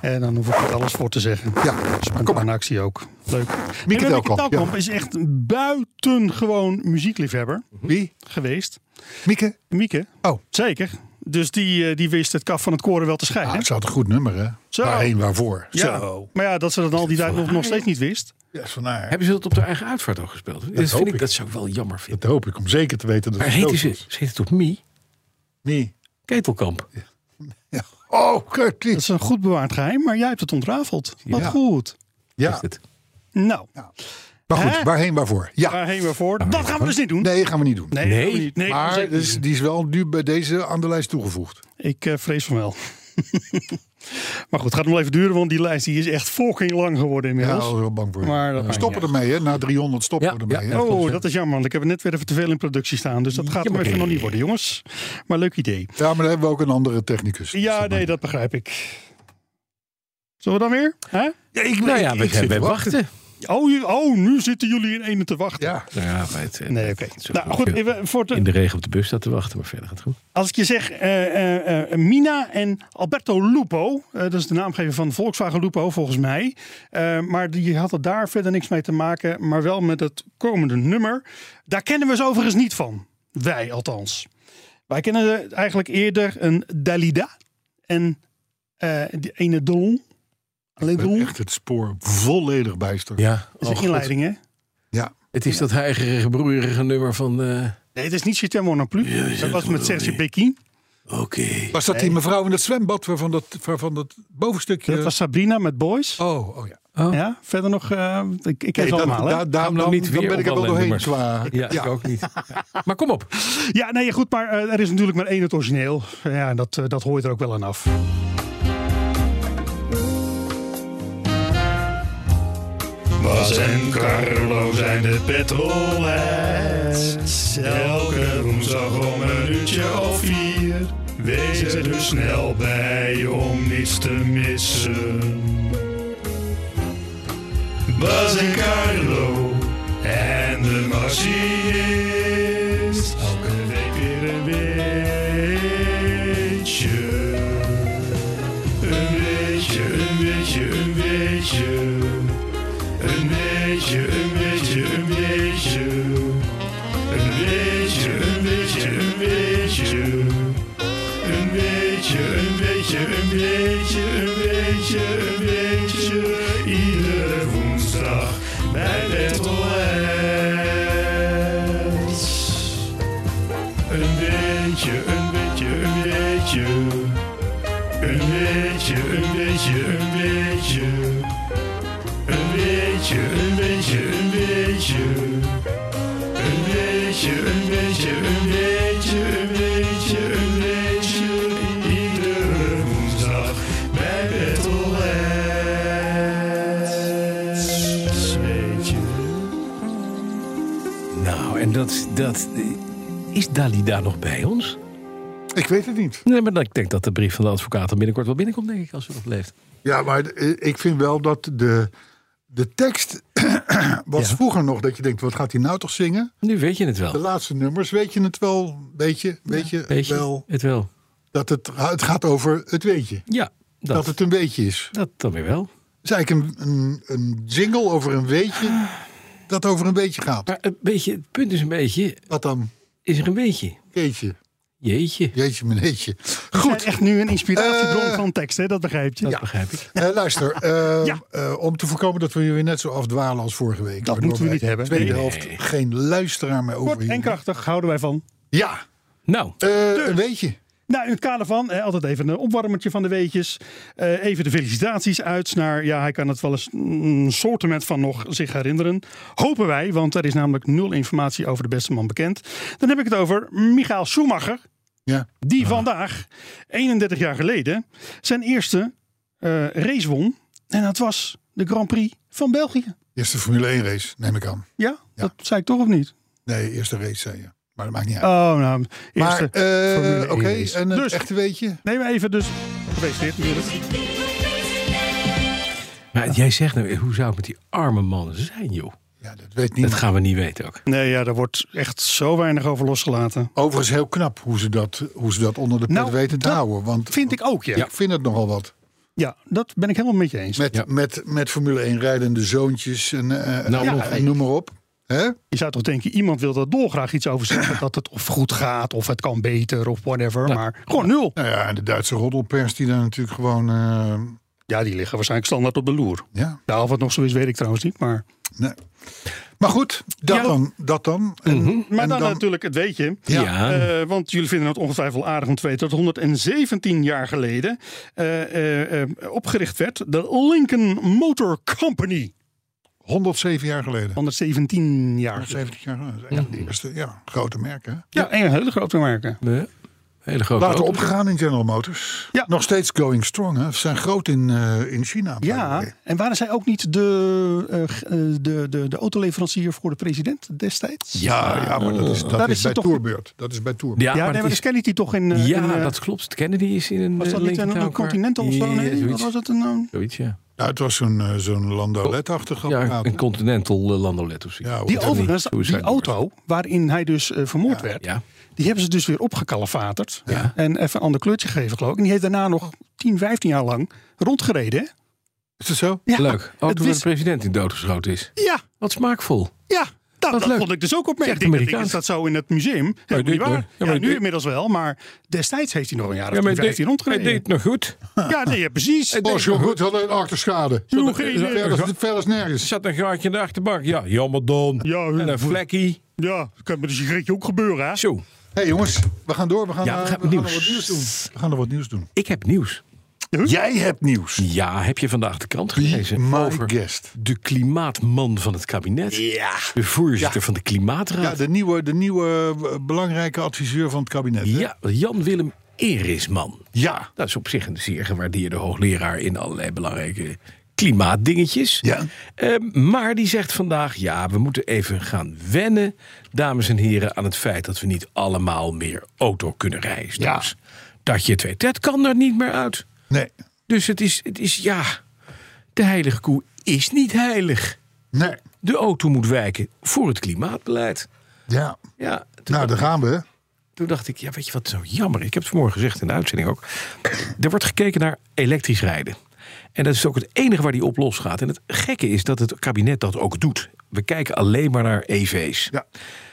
En dan hoef ik niet alles voor te zeggen. Ja, kom maar. Spontane actie ook. Leuk. En Mieke Willeke Telkamp, Telkamp ja. is echt een buitengewoon muziekliefhebber Wie? geweest. Mieke? Mieke. Oh. Zeker. Dus die, eh, die wist het kaf van het koren wel te scheiden. Ah, het had een goed nummer, hè? Zo. Waarheen, waarvoor? ja. Oh. Zo. Maar ja, dat ze dat al die tijd nog, nog steeds niet wist. Ja, is van haar. Hebben ze dat op de eigen uitvaart ook gespeeld? Dat, hoop vind ik, ik. dat zou ik wel jammer vinden. Dat hoop ik, om zeker te weten dat Maar het heette dood ze, is. ze heette toch Mie? Nee. Ketelkamp. Ja. Oh, Dat kut. is een goed bewaard geheim, maar jij hebt het ontrafeld. Wat Ja. goed. Ja, Is het. Nou, maar goed, Hè? waarheen, waarvoor? Ja. waarheen we voor? Dat gaan we dus niet doen. Nou, Nee, gaan we niet doen. Nee, Nee. dat gaan we niet. nee Maar zeker dus, niet. die is wel nu bij deze aan de lijst toegevoegd. ik eh, vrees van wel. Maar goed, het gaat nog wel even duren, want die lijst die is echt fucking lang geworden Ja, inmiddels. Nou, daar was ik wel bang voor. Maar dat we stoppen ermee, hè? Na 300 stoppen Ja, we ermee. ja, hè? ja. Oh, dat is jammer, want ik heb er net weer even te veel in productie staan. Dus dat gaat hem even nog niet worden, jongens. Maar leuk idee. Ja, maar dan hebben we ook een andere technicus. Ja, nee, dat begrijp ik. Zullen we dan weer? Hè? Ja, ik, Nou ik- ja, ik we zit gaan te bij wachten. wachten. Oh, je- oh, nu zitten jullie in ene te wachten. Ja, Nou Ja, bij het, eh, Nee, oké. zo Nou goed, goed, even voor in de, de regen op de bus staat te wachten, maar verder gaat het goed. als ik je zeg eh, eh, eh, Mina en Alberto Lupo, eh, dat is de naamgever van Volkswagen Lupo volgens mij. Eh, maar die had er daar verder niks mee te maken, maar wel met het komende nummer. Daar kennen we ze overigens niet van. Wij althans. Wij kennen ze eigenlijk eerder een Dalida en eh die ene Dolon. Alleen ik ben Dolon. echt het spoor volledig bijster. Ja, Dat is een inleiding, hè? Het is dat heigerige, broeierige nummer van... eh, Nee, het is niet Cité Mon non plus. dat was met Serge Bekin. Oké. Was dat die mevrouw in het zwembad waarvan dat, waarvan dat bovenstukje... Dat was Sabrina met Boys. Oh, oh ja. Ja, verder nog. eh, ik, ik ken ze Nee, allemaal, da, hè? da, Gaan dan, we nou niet dan weer ben ik op er wel allerlei doorheen nummers? qua... Ah, Ja, ik ook niet. Maar kom op. Ja, nee, goed, maar eh, er is natuurlijk maar één het origineel. Ja, en dat, eh, dat hoor je er ook wel aan af. Bas en Carlo zijn de petrolheads. Elke woensdag om een uurtje of vier. Wees er dus snel bij om niets te missen. Bas en Carlo en de machinist. Elke week weer een beetje. Een beetje, een beetje, een beetje. Een beetje, een beetje, een beetje. Een beetje, een beetje, een beetje. Een beetje, een beetje, een beetje, een beetje, een beetje. Iedere woensdag bij Petrolheads. Een beetje, een beetje, een beetje. Een beetje, een beetje, een beetje. Een beetje, een beetje, een beetje. Een beetje, een beetje, een beetje, een beetje, een beetje. Iedere woensdag bij Petrolheads. Weet je. Nou, en dat, dat... Is Dalida nog bij ons? Ik weet het niet. Nee, maar ik denk dat de brief van de advocaat er binnenkort wel binnenkomt, denk ik, als ze nog leeft. Ja, maar eh, ik vind wel dat de, de tekst... was Ja. vroeger nog dat je denkt, wat gaat hij nou toch zingen? Nu weet je het De wel. laatste nummers, weet je het wel? Weet je, weet je Weet je wel? het wel? Dat het, het gaat over het weetje. Ja, Dat, dat, dat, het een weetje is. dan weer wel. Het is eigenlijk een, een, een jingle over een weetje... dat over een weetje gaat. Maar een beetje, het punt is een beetje... Wat dan? Is er een beetje? Keetje. Jeetje, Jeetje, meneetje. Goed. Echt nu een inspiratiebron Eh. van tekst, hè? dat begrijp je. dat Ja. begrijp ik. Eh, luister, eh, Ja. eh, om te voorkomen dat we hier weer net zo afdwalen als vorige week. waardoor moeten we wij niet de hebben. Tweede Nee. helft, geen luisteraar meer over Kort en krachtig houden wij van. Ja, Nou, eh, een weetje. Nou, in het kader van, eh, altijd even een opwarmertje van de weetjes. Eh, even de felicitaties uit naar, ja, hij kan het wel eens een soortement van nog zich herinneren. Hopen wij, want er is namelijk nul informatie over de beste man bekend. Dan heb ik het over Michael Schumacher, Ja. die vandaag, 31 jaar geleden, zijn eerste eh, race won. En dat was de Grand Prix van België. Eerste Formule 1 race, neem ik aan. Ja, dat zei ik toch of niet? Nee, eerste race zei je. Maar dat maakt niet uit. Oh, nou, maar eerste. eh, Formule oké, 1 race. en een Dus- echte weetje. Neem even dus, gefeliciteerd natuurlijk. maar jij zegt nou, hoe zou het met die arme mannen zijn, joh? Ja, dat weet Dat niemand. gaan we niet weten ook. Nee, ja, daar wordt echt zo weinig over losgelaten. Overigens heel knap hoe ze dat, hoe ze dat onder de pet Nou, weten te dat houden. Want Vind ik ook, ja. ik ja. vind het nogal wat. dat ben ik helemaal met je eens. Met, met, met Formule 1 rijdende zoontjes en eh, Nou, eh, nog- noem maar op. Hè? Je zou toch denken, iemand wil daar dolgraag iets over zeggen. dat het of goed gaat, of het kan beter, of whatever. Maar gewoon nul. Nou ja, en de Duitse roddelpers die daar natuurlijk gewoon... eh, Ja, die liggen waarschijnlijk standaard op de loer. ja, Nou, of het nog zo is, weet ik trouwens niet. Maar, nee. Maar goed, dat Ja. dan. Dat dan. En, maar en dan, natuurlijk het weet je. Ja. Eh, want jullie vinden het ongetwijfeld aardig om te weten dat 117 jaar geleden eh, eh, eh, opgericht werd de Lincoln Motor Company. 107 jaar geleden. 117 jaar. 170 jaar geleden. Dat is echt de eerste ja, grote merk, hè? Ja, een hele grote merken. Nee. Hele grote Later auto. opgegaan in General Motors. Ja. Nog steeds going strong. Hè. Ze zijn groot in, eh, in China. by the Ja, way. en waren zij ook niet de, eh, g- eh, de, de, de autoleverancier voor de president destijds? Ja, ja, maar dat is, dat Daar is, is bij het toch- Tourbeurt. Dat is bij Tourbeurt. Ja, nee, maar het dat is- kende hij toch in... eh, ja, in, eh, dat klopt. Kennedy is in een was dat eh, niet Lincoln een, een Town Car. continental of zo? Ja, Nee, wat zoiets. was het nou? Zoiets, ja. Nou, het was zo'n eh, zo'n landolet-achtig Ja, apparaat. een continental eh, landolet of zoiets. Oh, Ja, Die hoor. overigens, Suicide die auto waarin hij dus eh, vermoord werd, Ja. die hebben ze dus weer opgekalefaterd. Ja. En even een ander kleurtje gegeven, geloof ik. En die heeft daarna nog 10, 15 jaar lang rondgereden. hè? Is dat zo? Ja, Leuk. Ook het toen de wist- president in doodgeschoten is. Ja, Wat smaakvol. ja. Nou, Wat dat leuk. vond ik dus ook Echt opmerkelijk. Ik denk, Amerikaans. Is dat zo in het museum? Helemaal dit niet waar. hoor. Ja, Ja, maar nu dit- inmiddels wel, maar destijds heeft hij nog een jaar of maar 10, hij 15 deed, hij rondgereden. deed Ah. nog goed. Ja, nee, ja, precies. Als je goed had een achterschade. Joe, geen idee. Verder verder is Er nergens. zat een gaatje in de achterbak. Ja, jammer dan. Ja, en een vlekkie. Ja, dat kan met een sigaretje ook gebeuren, hè? Zo, Hé hey, jongens, we gaan door. We gaan, Ja, we eh, we gaan gaan nieuws. er wat nieuws doen. We gaan er wat nieuws doen. ik heb nieuws. Jij hebt nieuws. Ja, heb je vandaag de krant Be gelezen my over guest. de klimaatman van het kabinet? Ja. De voorzitter van de Ja, Klimaatraad. de nieuwe, de nieuwe eh, belangrijke adviseur van het kabinet. hè? Ja, Jan-Willem Erisman. Ja. Dat is op zich een zeer gewaardeerde hoogleraar in allerlei belangrijke klimaatdingetjes. Ja. Ehm, maar die zegt vandaag, ja, we moeten even gaan wennen, dames en heren, aan het feit dat we niet allemaal meer auto kunnen rijden. straks. Dat je het weet, dat kan er niet meer uit. Nee. Dus het is, het is, ja, de heilige koe is niet heilig. Nee. De auto moet wijken voor het klimaatbeleid. Ja. Ja, toen, Nou, daar gaan we. toen dacht ik, ja, weet je wat zo jammer. Ik heb het vanmorgen gezegd in de uitzending ook. Er wordt gekeken naar elektrisch rijden. En dat is ook het enige waar die op los gaat. En het gekke is dat het kabinet dat ook doet. We kijken alleen maar naar EV's. Ja.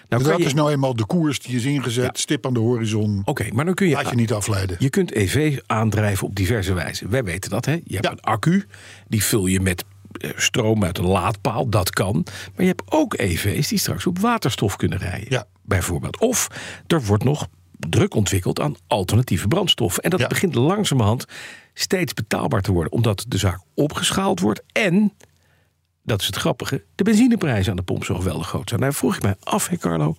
Nou, kan dat je- is Oké, nou eenmaal de koers die is ingezet. Stip aan de horizon. maar dan kun je Laat je niet afleiden. Oh, Je kunt EV aandrijven op diverse wijze. Wij weten dat, hè? Je hebt Ja. een accu, die vul je met eh, stroom uit een laadpaal, dat kan. Maar je hebt ook EV's die straks op waterstof kunnen rijden, Ja. bijvoorbeeld. Of er wordt nog druk ontwikkeld aan alternatieve brandstoffen. En dat Ja. begint langzamerhand steeds betaalbaar te worden, omdat de zaak opgeschaald wordt en. Dat is het grappige. De benzineprijzen aan de pomp zo geweldig groot zijn. Daar vroeg ik mij af, hè Carlo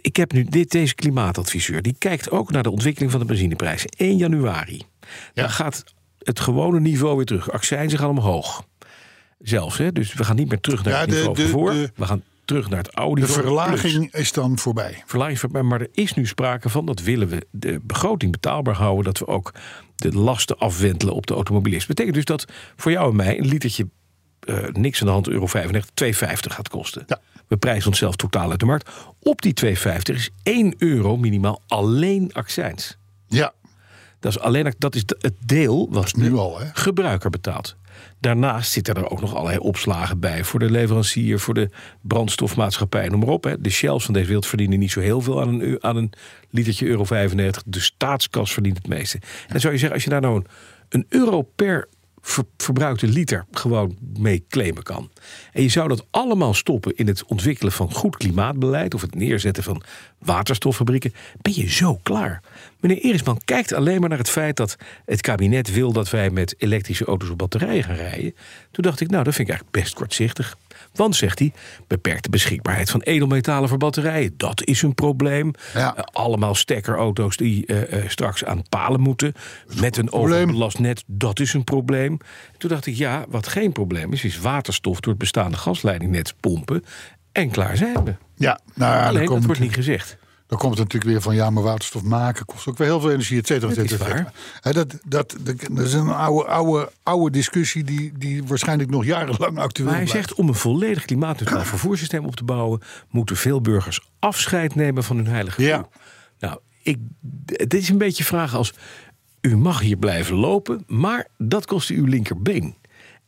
ik heb nu dit, deze klimaatadviseur. Die kijkt ook naar de ontwikkeling van de benzineprijs. 1 januari. Dan gaat het gewone niveau weer terug. Accijnzen gaan omhoog. Zelfs, hè? Dus we gaan niet meer terug naar Ja, het de- niveau de- van voor. de- we gaan terug naar het oude De niveau. plus. verlaging is dan voorbij. Verlaging van- maar- Maar er is nu sprake van, dat willen we de begroting betaalbaar houden... dat we ook de lasten afwentelen op de automobilist. Betekent dus dat voor jou en mij een litertje... eh, niks aan de hand, euro 95, 2,50 gaat kosten. Ja. We prijzen onszelf totaal uit de markt. Op die 2,50 is 1 euro minimaal alleen accijns. Ja. Dat is, alleen, dat is de- het deel wat de Nu al, hè? gebruiker betaalt. Daarnaast zitten er ook nog allerlei opslagen bij voor de leverancier, voor de brandstofmaatschappij, noem maar op. Hè. De shells van deze wereld verdienen niet zo heel veel aan een, eu- aan een litertje euro 95. De staatskas verdient het meeste. En dan zou je zeggen, als je daar nou een, een euro per ver- verbruikte liter gewoon mee claimen kan. En je zou dat allemaal stoppen in het ontwikkelen van goed klimaatbeleid of het neerzetten van waterstoffabrieken, ben je zo klaar. Meneer Erisman kijkt alleen maar naar het feit dat het kabinet wil dat wij met elektrische auto's op batterijen gaan rijden. Toen dacht ik, nou, dat vind ik eigenlijk best kortzichtig. Want, zegt hij, beperkte beschikbaarheid van edelmetalen voor batterijen. Dat is een probleem. Ja. Eh, allemaal stekkerauto's die eh, eh, straks aan palen moeten. Met een probleem. overbelast net. Dat is een probleem. Toen dacht ik, ja, wat geen probleem is, is waterstof door het bestaande gasleidingnet pompen. En klaar zijn we. Ja. Nou, ja, dan Alleen, dat komt, wordt niet gezegd. dan komt het natuurlijk weer van... ja, maar waterstof maken kost ook weer heel veel energie, et cetera. et Dat is cetera, et cetera. Hè, dat, dat, dat, dat is een oude, oude, oude discussie... Die, die waarschijnlijk nog jarenlang actueel Maar hij blijft. zegt, om een volledig klimaatneutraal vervoerssysteem op te bouwen... moeten veel burgers afscheid nemen van hun heilige koe. Ja. Nou, ik, d- dit is een beetje vragen als... u mag hier blijven lopen, maar dat kost u uw linkerbeen.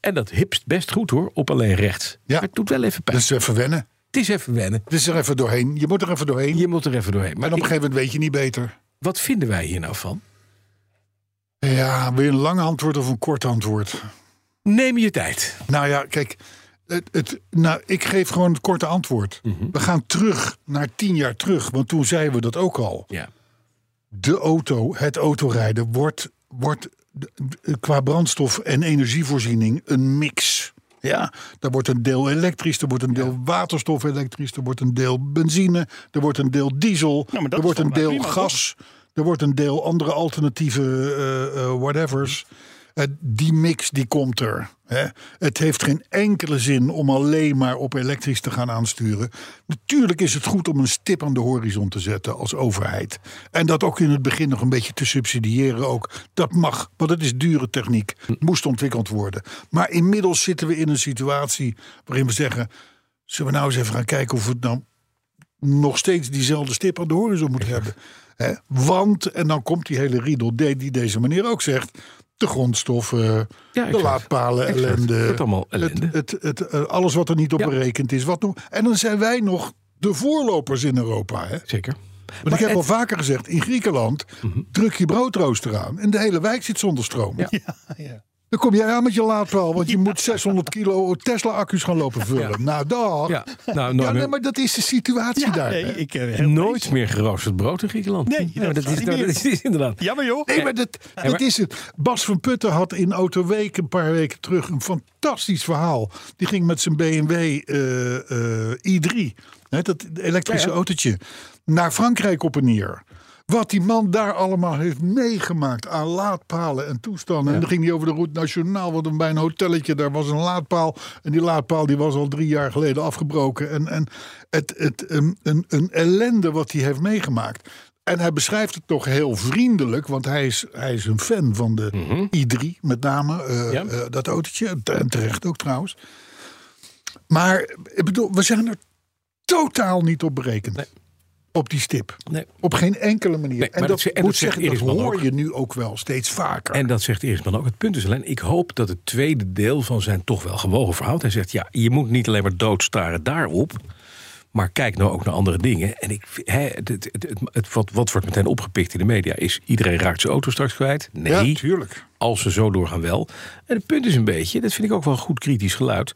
En dat hipst best goed hoor, op alleen rechts. Ja. Maar het doet wel even pijn. Dus even wennen. het is even wennen. Dus er even doorheen. Je moet er even doorheen. Je moet er even doorheen. Maar en op een ik- gegeven moment weet je niet beter. wat vinden wij hier nou van? Ja, wil je een lang antwoord of een kort antwoord? Neem je tijd. Nou ja, kijk. Het, het, nou, ik geef gewoon het korte antwoord. Mhm. We gaan terug naar tien jaar terug. Want toen zeiden we dat ook al. Ja. De auto, het autorijden, wordt, wordt d- d- qua brandstof en energievoorziening een mix. Ja, er wordt een deel elektrisch, er wordt een deel waterstof elektrisch, er wordt een deel benzine, er wordt een deel diesel, maar dat er is wordt toch een maar deel prima, gas, Er wordt een deel andere alternatieve eh, eh, whatevers. Eh, die mix die komt er. Hè. Het heeft geen enkele zin om alleen maar op elektrisch te gaan aansturen. Natuurlijk is het goed om een stip aan de horizon te zetten als overheid. En dat ook in het begin nog een beetje te subsidiëren. Ook. Dat mag, want het is dure techniek. Moest ontwikkeld worden. Maar inmiddels zitten we in een situatie waarin we zeggen... zullen we nou eens even gaan kijken of we het nou nog steeds diezelfde stip aan de horizon moet hebben. Hè? Want, en dan komt die hele riedel D die deze meneer ook zegt... de grondstoffen, de exact. laadpalen, Exact. ellende. Wordt allemaal ellende. Het, het, het, eh, alles wat er niet op Ja. berekend is. Wat nog, en dan zijn wij nog de voorlopers in Europa. Hè? Zeker. Want ik heb het- Mhm. al vaker gezegd, in Griekenland druk je broodrooster aan... en de hele wijk zit zonder stroom. Ja. Dan kom jij aan met je laadpaal, want je moet 600 kilo Tesla-accu's gaan lopen vullen. Ja. Nou, dag. Ja, Ja. nou, nooit, nee, meer- maar dat is de situatie daar. nee, hè. ik, eh, heel- nooit meer geroosterd brood in Griekenland. Nee, maar dat dat, gaat is, niet nou, meer. dat is inderdaad. Jammer joh. Nee, maar dat, dat maar- is het. Bas van Putten had in Autoweek een paar weken terug een fantastisch verhaal. Die ging met zijn BMW eh, eh, i3, hè, dat elektrische autootje, naar Frankrijk op en neer. Wat die man daar allemaal heeft meegemaakt aan laadpalen en toestanden. En dan ging hij over de route nationaal, want een- bij een hotelletje daar was een laadpaal. En die laadpaal die was al drie jaar geleden afgebroken. En, en het, het, een, een, een ellende wat hij heeft meegemaakt. En hij beschrijft het toch heel vriendelijk, want hij is, hij is een fan van de i3 met name. eh, Mhm. Ja. eh, dat autootje, en te- en terecht ook trouwens. Maar ik bedoel, we zijn er totaal niet op berekend. Nee. Op die stip. Nee. Op geen enkele manier. Nee, en dat, maar dat ze- en dat moet zegt zeggen, dat Iris Bal hoor ook. je nu ook wel steeds vaker. En dat zegt Eersman ook. Het punt is alleen, ik hoop dat het tweede deel van zijn toch wel gewogen verhaal. Hij zegt, ja, je moet niet alleen maar doodstaren daarop. Maar kijk nou ook naar andere dingen. En ik, hè, het, het, het, het- het- wat, wat wordt meteen opgepikt in de media is... iedereen raakt zijn auto straks kwijt. ja, Nee, natuurlijk. als ze zo doorgaan wel. En het punt is een beetje, dat vind ik ook wel een goed kritisch geluid.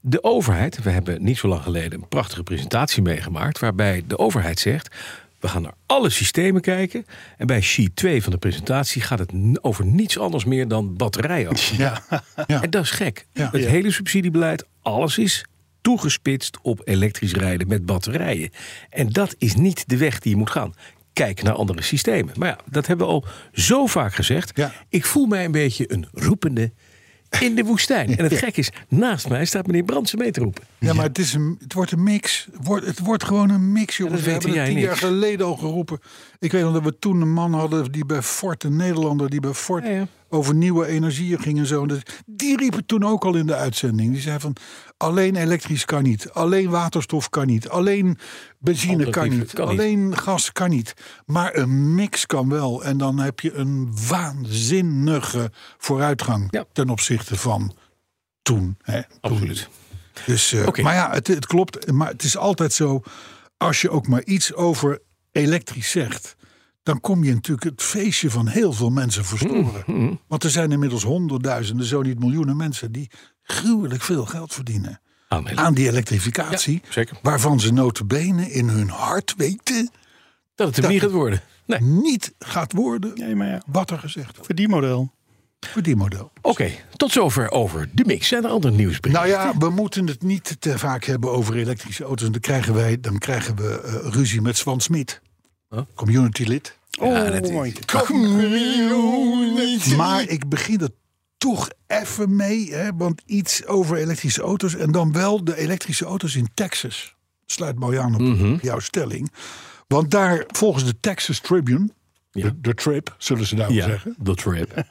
De overheid, we hebben niet zo lang geleden een prachtige presentatie meegemaakt... waarbij de overheid zegt, we gaan naar alle systemen kijken... en bij sheet 2 van de presentatie gaat het n- over niets anders meer dan batterijactie. Ja. ja. En dat is gek. Ja. Het Ja. hele subsidiebeleid, alles is toegespitst op elektrisch rijden met batterijen. En dat is niet de weg die je moet gaan. Kijk naar andere systemen. Maar ja, dat hebben we al zo vaak gezegd. Ja. Ik voel mij een beetje een roepende in de woestijn. En het gek is, naast mij staat meneer Brandsen mee te roepen. Ja, maar het, is een, het wordt een mix. Het wordt, het wordt gewoon een mix, jongens. dat we weet hebben het jij tien jaar niet. geleden al geroepen. Ik weet nog dat we toen een man hadden die bij Ford, een Nederlander, die bij Ford Ja, ja. over nieuwe energieën ging en zo. En dat- Die riep het toen ook al in de uitzending. Die zei van, alleen elektrisch kan niet. Alleen waterstof kan niet. Alleen benzine kan Alternatief niet. kan niet. alleen gas kan niet. Maar een mix kan wel. En dan heb je een waanzinnige vooruitgang Ja. ten opzichte van toen. Hè, Absoluut. dus, eh, Oké. Maar ja, het, het klopt. Maar het is altijd zo, als je ook maar iets over elektrisch zegt... dan kom je natuurlijk het feestje van heel veel mensen verstoren. Mm, Want er zijn inmiddels honderdduizenden, zo niet miljoenen mensen... die gruwelijk veel geld verdienen Aanmelden. aan die elektrificatie. Ja, zeker. Waarvan ze notabene in hun hart weten... Dat het hem Dat- niet gaat worden. Nee. niet gaat worden Nee, maar ja. wat er gezegd wordt Voor die model. voor die model. Oké, tot zover over de mix. Zijn er andere nieuwsbrieven? Nou ja, we moeten het niet te vaak hebben over elektrische auto's. En Dan krijgen, wij, dan krijgen we eh, ruzie met Swan Smit, Huh? community lid. Oh, dat is- mooi. Maar ik begin er toch even mee, hè, want iets over elektrische auto's. En dan wel de elektrische auto's in Texas. Sluit mooi aan op Mhm. jouw stelling. Want daar, volgens de Texas Tribune, de, de Trip, zullen ze daar wel ja, zeggen. de trip.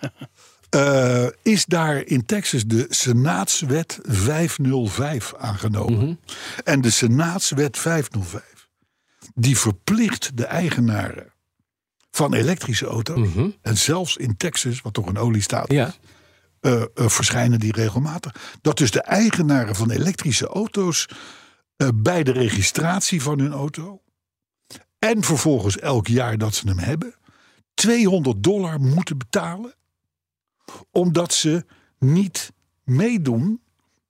Eh, is daar in Texas de Senaatswet 505 aangenomen. En de Senaatswet 505 die verplicht de eigenaren van elektrische auto's en zelfs in Texas, wat toch een oliestaat is, Ja. eh, eh, verschijnen die regelmatig. Dat dus de eigenaren van elektrische auto's eh, bij de registratie van hun auto en vervolgens elk jaar dat ze hem hebben 200 dollar moeten betalen omdat ze niet meedoen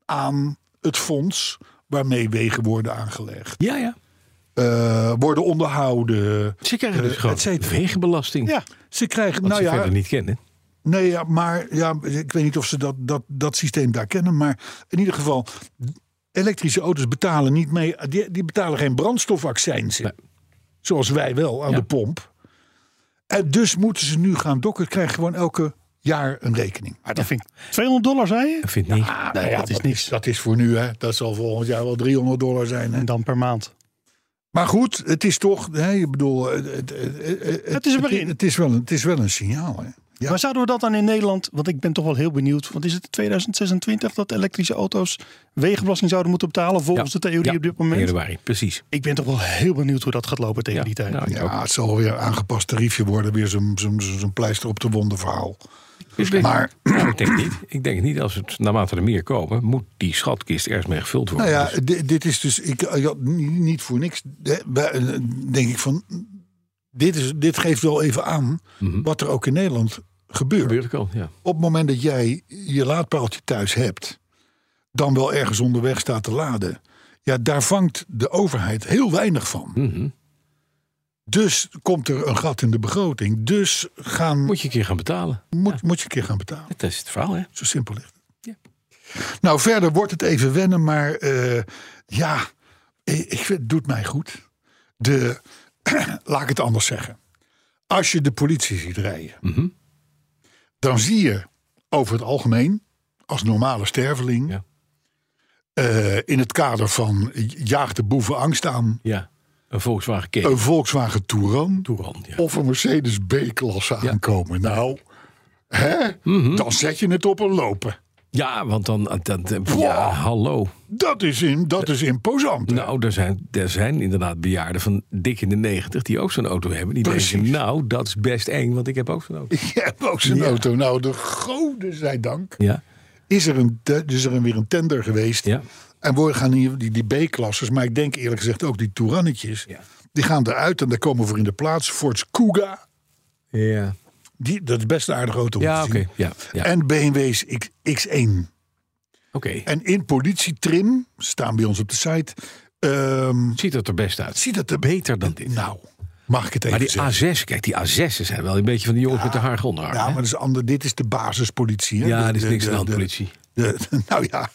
aan het fonds waarmee wegen worden aangelegd, ja, ja. eh, worden onderhouden. Ze krijgen Eh, dus gewoon et cetera. wegenbelasting. Ja. Ze krijgen, Wat nou ze ja, verder niet kennen. Nee, ja, maar ja, ik weet niet of ze dat, dat, dat systeem daar kennen. Maar in ieder geval, elektrische auto's betalen niet mee. Die, die betalen geen brandstofaccijns. in. Nee. Zoals wij wel aan Ja. de pomp. En dus moeten ze nu gaan dokken. Krijgen gewoon elke jaar een rekening. Maar dat vind ik 200 dollar, zei je? Ik vind niet. Ah, nou ja, dat is niks. dat is voor nu, hè. Dat zal volgend jaar wel 300 dollar zijn. Hè? En dan per maand. Maar goed, het is toch. Hè, ik bedoel, het, het, het, Het is een begin. Het is wel een, het is wel een signaal. Hè? Ja. Maar zouden we dat dan in Nederland, want ik ben toch wel heel benieuwd, want is het 2026 dat elektrische auto's wegenbelasting zouden moeten betalen volgens Ja. de theorie Ja. op dit moment? Januari, precies. Ik ben toch wel heel benieuwd hoe dat gaat lopen tegen die tijd. nou, ik ook. Ja, het zal weer een aangepast tariefje worden. Weer zo'n zo'n- zo'n pleister op de wonden verhaal. Ik denk- Maar- Nou, ik denk het niet. Ik denk het niet. Als het naarmate er meer komen, moet die schatkist ergens mee gevuld worden. Nou ja, Dus- di- dit is dus. Ik, ik had ni- niet voor niks. hè, bij- eh, Denk ik van. Dit, is, dit geeft wel even aan wat er ook in Nederland Mhm. gebeurt. gebeurt ook al. Ja. Op het moment dat jij je laadpaaltje thuis hebt, dan wel ergens onderweg staat te laden. Ja, daar vangt de overheid heel weinig van. Mhm. Dus komt er een gat in de begroting. Dus gaan, moet, Moet je een keer gaan betalen. moet, je een keer gaan betalen. Dat is het verhaal, hè? Zo simpel ligt het. Nou, verder wordt het even wennen, maar eh, ja, eh, ik, ik vind- het doet mij goed. De, laat ik het anders zeggen. Als je de politie ziet rijden, dan zie je over het algemeen, als normale sterveling, Ja. eh, in het kader van jaag de boeven angst aan, Ja. Een Volkswagen Oh. Caddy. een Volkswagen Touran Touran, ja. of een Mercedes B-klasse aankomen. Nou, hè? dan zet je het op een lopen. Ja, want dan... eh, dan- dan- ja, hallo. Dat is, in, dat is imposant. hè? Nou, er zijn, er zijn inderdaad bejaarden van dik in de negentig... die ook zo'n auto hebben. Die denken, Precies. nou, dat is best eng, want ik heb ook zo'n auto. Je hebt ook zo'n auto. Nou, de goden zij dank. Ja, Is er, een, te- is er een, weer een tender geweest. Ja. En we gaan hier die, die B-klassers, maar ik denk eerlijk gezegd ook die Tourannetjes. Ja. Die gaan eruit en daar komen voor in de plaats Ford's Kuga. ja. Die, dat is best een aardige auto om Ja, te oké. zien. Ja, ja. En BMW's X, X1. Oké, En in politietrim, staan bij ons op de site, ehm, ziet dat er best uit. ziet het er Beter dan dit. Nou, mag ik het even Maar die zeggen? A6, kijk, die A6'en zijn wel een beetje van die jongens met de haar onder. Ja, maar dat is ander, dit is de basispolitie. Hè? De- Ja, dit is de- niks de- aan de hand, de- politie. de- nou ja,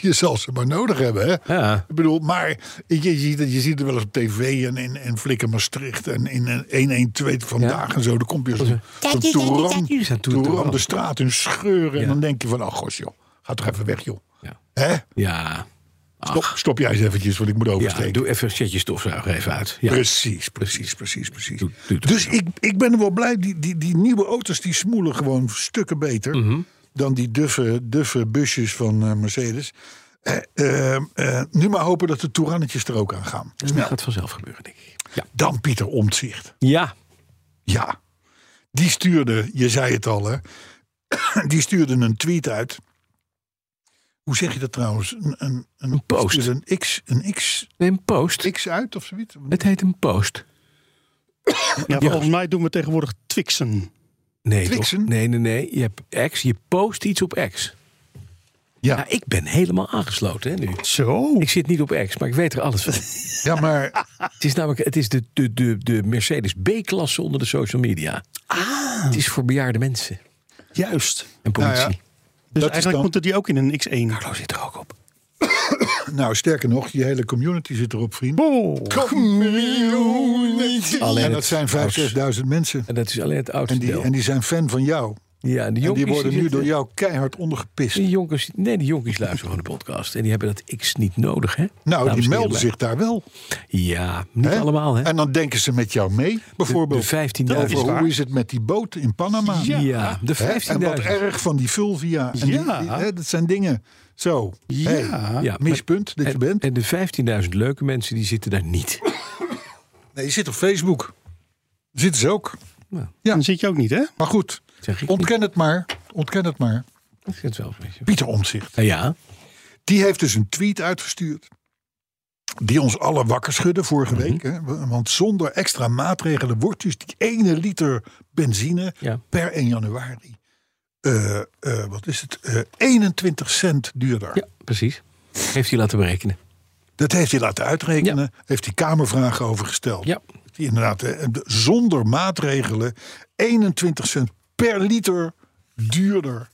je zal ze maar nodig hebben. Hè? Ja. Ik bedoel, maar je, je, ziet het- je ziet het wel eens op tv en in en Flikker Maastricht en in eh, een 112 vandaag en zo. Dan komt je zo'n zo'n toeran, is een toeran toeran. de straat in scheuren. Ja. En dan denk je van, ach gosh joh, ga toch even weg joh. Ja. Hè? ja. Stop, stop jij eens eventjes, want ik moet Ja, oversteken. doe even een setje stofzuiger even uit. Ja. Precies, precies, precies, precies. Doet- doet het dus ik, ik ben wel blij, die, die, die nieuwe auto's die smoelen gewoon stukken beter... dan die duffe, duffe busjes van eh, Mercedes. Eh, eh, eh, nu maar hopen dat de Tourannetjes er ook aan gaan. Dat Snel. gaat vanzelf gebeuren, denk ik. Ja. Dan Pieter Omtzigt. Ja. Ja, die stuurde, je zei het al hè... die stuurde een tweet uit... Hoe zeg je dat trouwens? Een, een, een, post. stuurde Een X, een X, Nee, een post. X uit of zoiets? Het heet een post. Ja, volgens mij doen we tegenwoordig twixen. Nee, toch? Twixen? Nee, nee, nee. Je hebt X. Je post iets op X. Ja. Nou, ik ben helemaal aangesloten hè, nu. Zo. Ik zit niet op X, maar ik weet er alles van. Ja, maar... het is namelijk het is de, de, de, de Mercedes B-klasse onder de social media. Ah. Het is voor bejaarde mensen Juist. Nou en politie. ja. Dus Dat is eigenlijk dan- moeten die ook in een X1. Carlo zit er ook op. Nou, sterker nog, je hele community zit erop, vriend. Oh. Community. Alleen en dat zijn het huis. 5.000, 6.000 mensen. En dat is alleen het oudste En die, deel. en die zijn fan van jou. ja, en de En jonkies die worden nu zitten- door jou keihard ondergepist. Nou, Die jonkies, nee, die jonkies luisteren gewoon de podcast. En die hebben dat X niet nodig, hè? Nou, Dames die en melden heren. zich daar wel. Ja, niet hè? allemaal, hè? En dan denken ze met jou mee, de bijvoorbeeld. 15.000. over hoe is het met die boot in Panama? Ja, de Hè? En wat 15.000. erg van die Fulvia. En die- Ja. die- hè, dat zijn dingen. Zo, hey, Ja, mispunt dat en, je bent. En de 15.000 leuke mensen, die zitten daar niet. Nee, je zit op Facebook. Zitten ze ook. Dan zit je ook niet, hè? Maar goed, Zeg ik ontken het maar. Ontken het maar. Ik vind het wel een beetje... Pieter Omtzigt. Nou ja, Die heeft dus een tweet uitgestuurd. Die ons alle wakker schudde vorige Mhm. week. Hè? Want zonder extra maatregelen wordt dus die ene liter benzine Ja. per 1 januari. eh, eh, wat is het? eh, 21 cent duurder. ja, precies. Heeft hij laten berekenen. Dat heeft hij laten uitrekenen. Heeft hij Kamervragen over gesteld. Ja. Die inderdaad, eh, de- zonder maatregelen 21 cent per liter duurder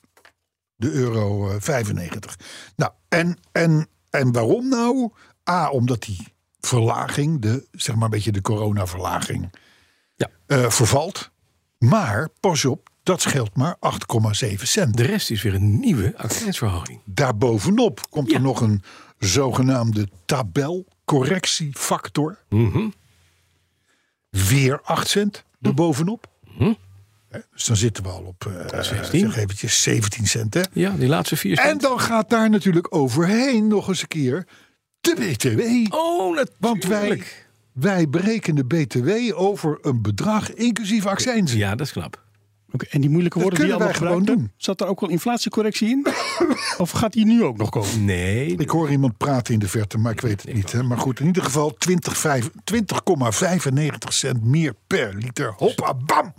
de euro eh, 95. Nou, en, en, en waarom nou? A, omdat die verlaging, de, zeg maar een beetje de coronaverlaging, Ja. eh, vervalt. Maar pas op, dat scheelt maar 8,7 cent. De rest is weer een nieuwe accijnsverhoging. Daarbovenop komt Ja. er nog een zogenaamde tabelcorrectiefactor. Weer 8 cent Hm. erbovenop. Hè, Dus dan zitten we al op eh, zeg eventjes 17 cent. Hè? Ja, die laatste vier En cent. dan gaat daar natuurlijk overheen nog eens een keer de BTW. Oh, natuurlijk. Want wij, wij berekenen BTW over een bedrag inclusief accijns. Ja, dat is knap. Oké, en die moeilijke Dat woorden die je allemaal kunnen wij gebruikt gewoon hebt, zat er ook al inflatiecorrectie in? of gaat die nu ook nog komen? Nee. Ik hoor iemand praten in de verte, maar ik weet het niet. Hè. Maar goed, in ieder geval 20 vijf- 20,95 cent meer per liter. Hoppa, bam!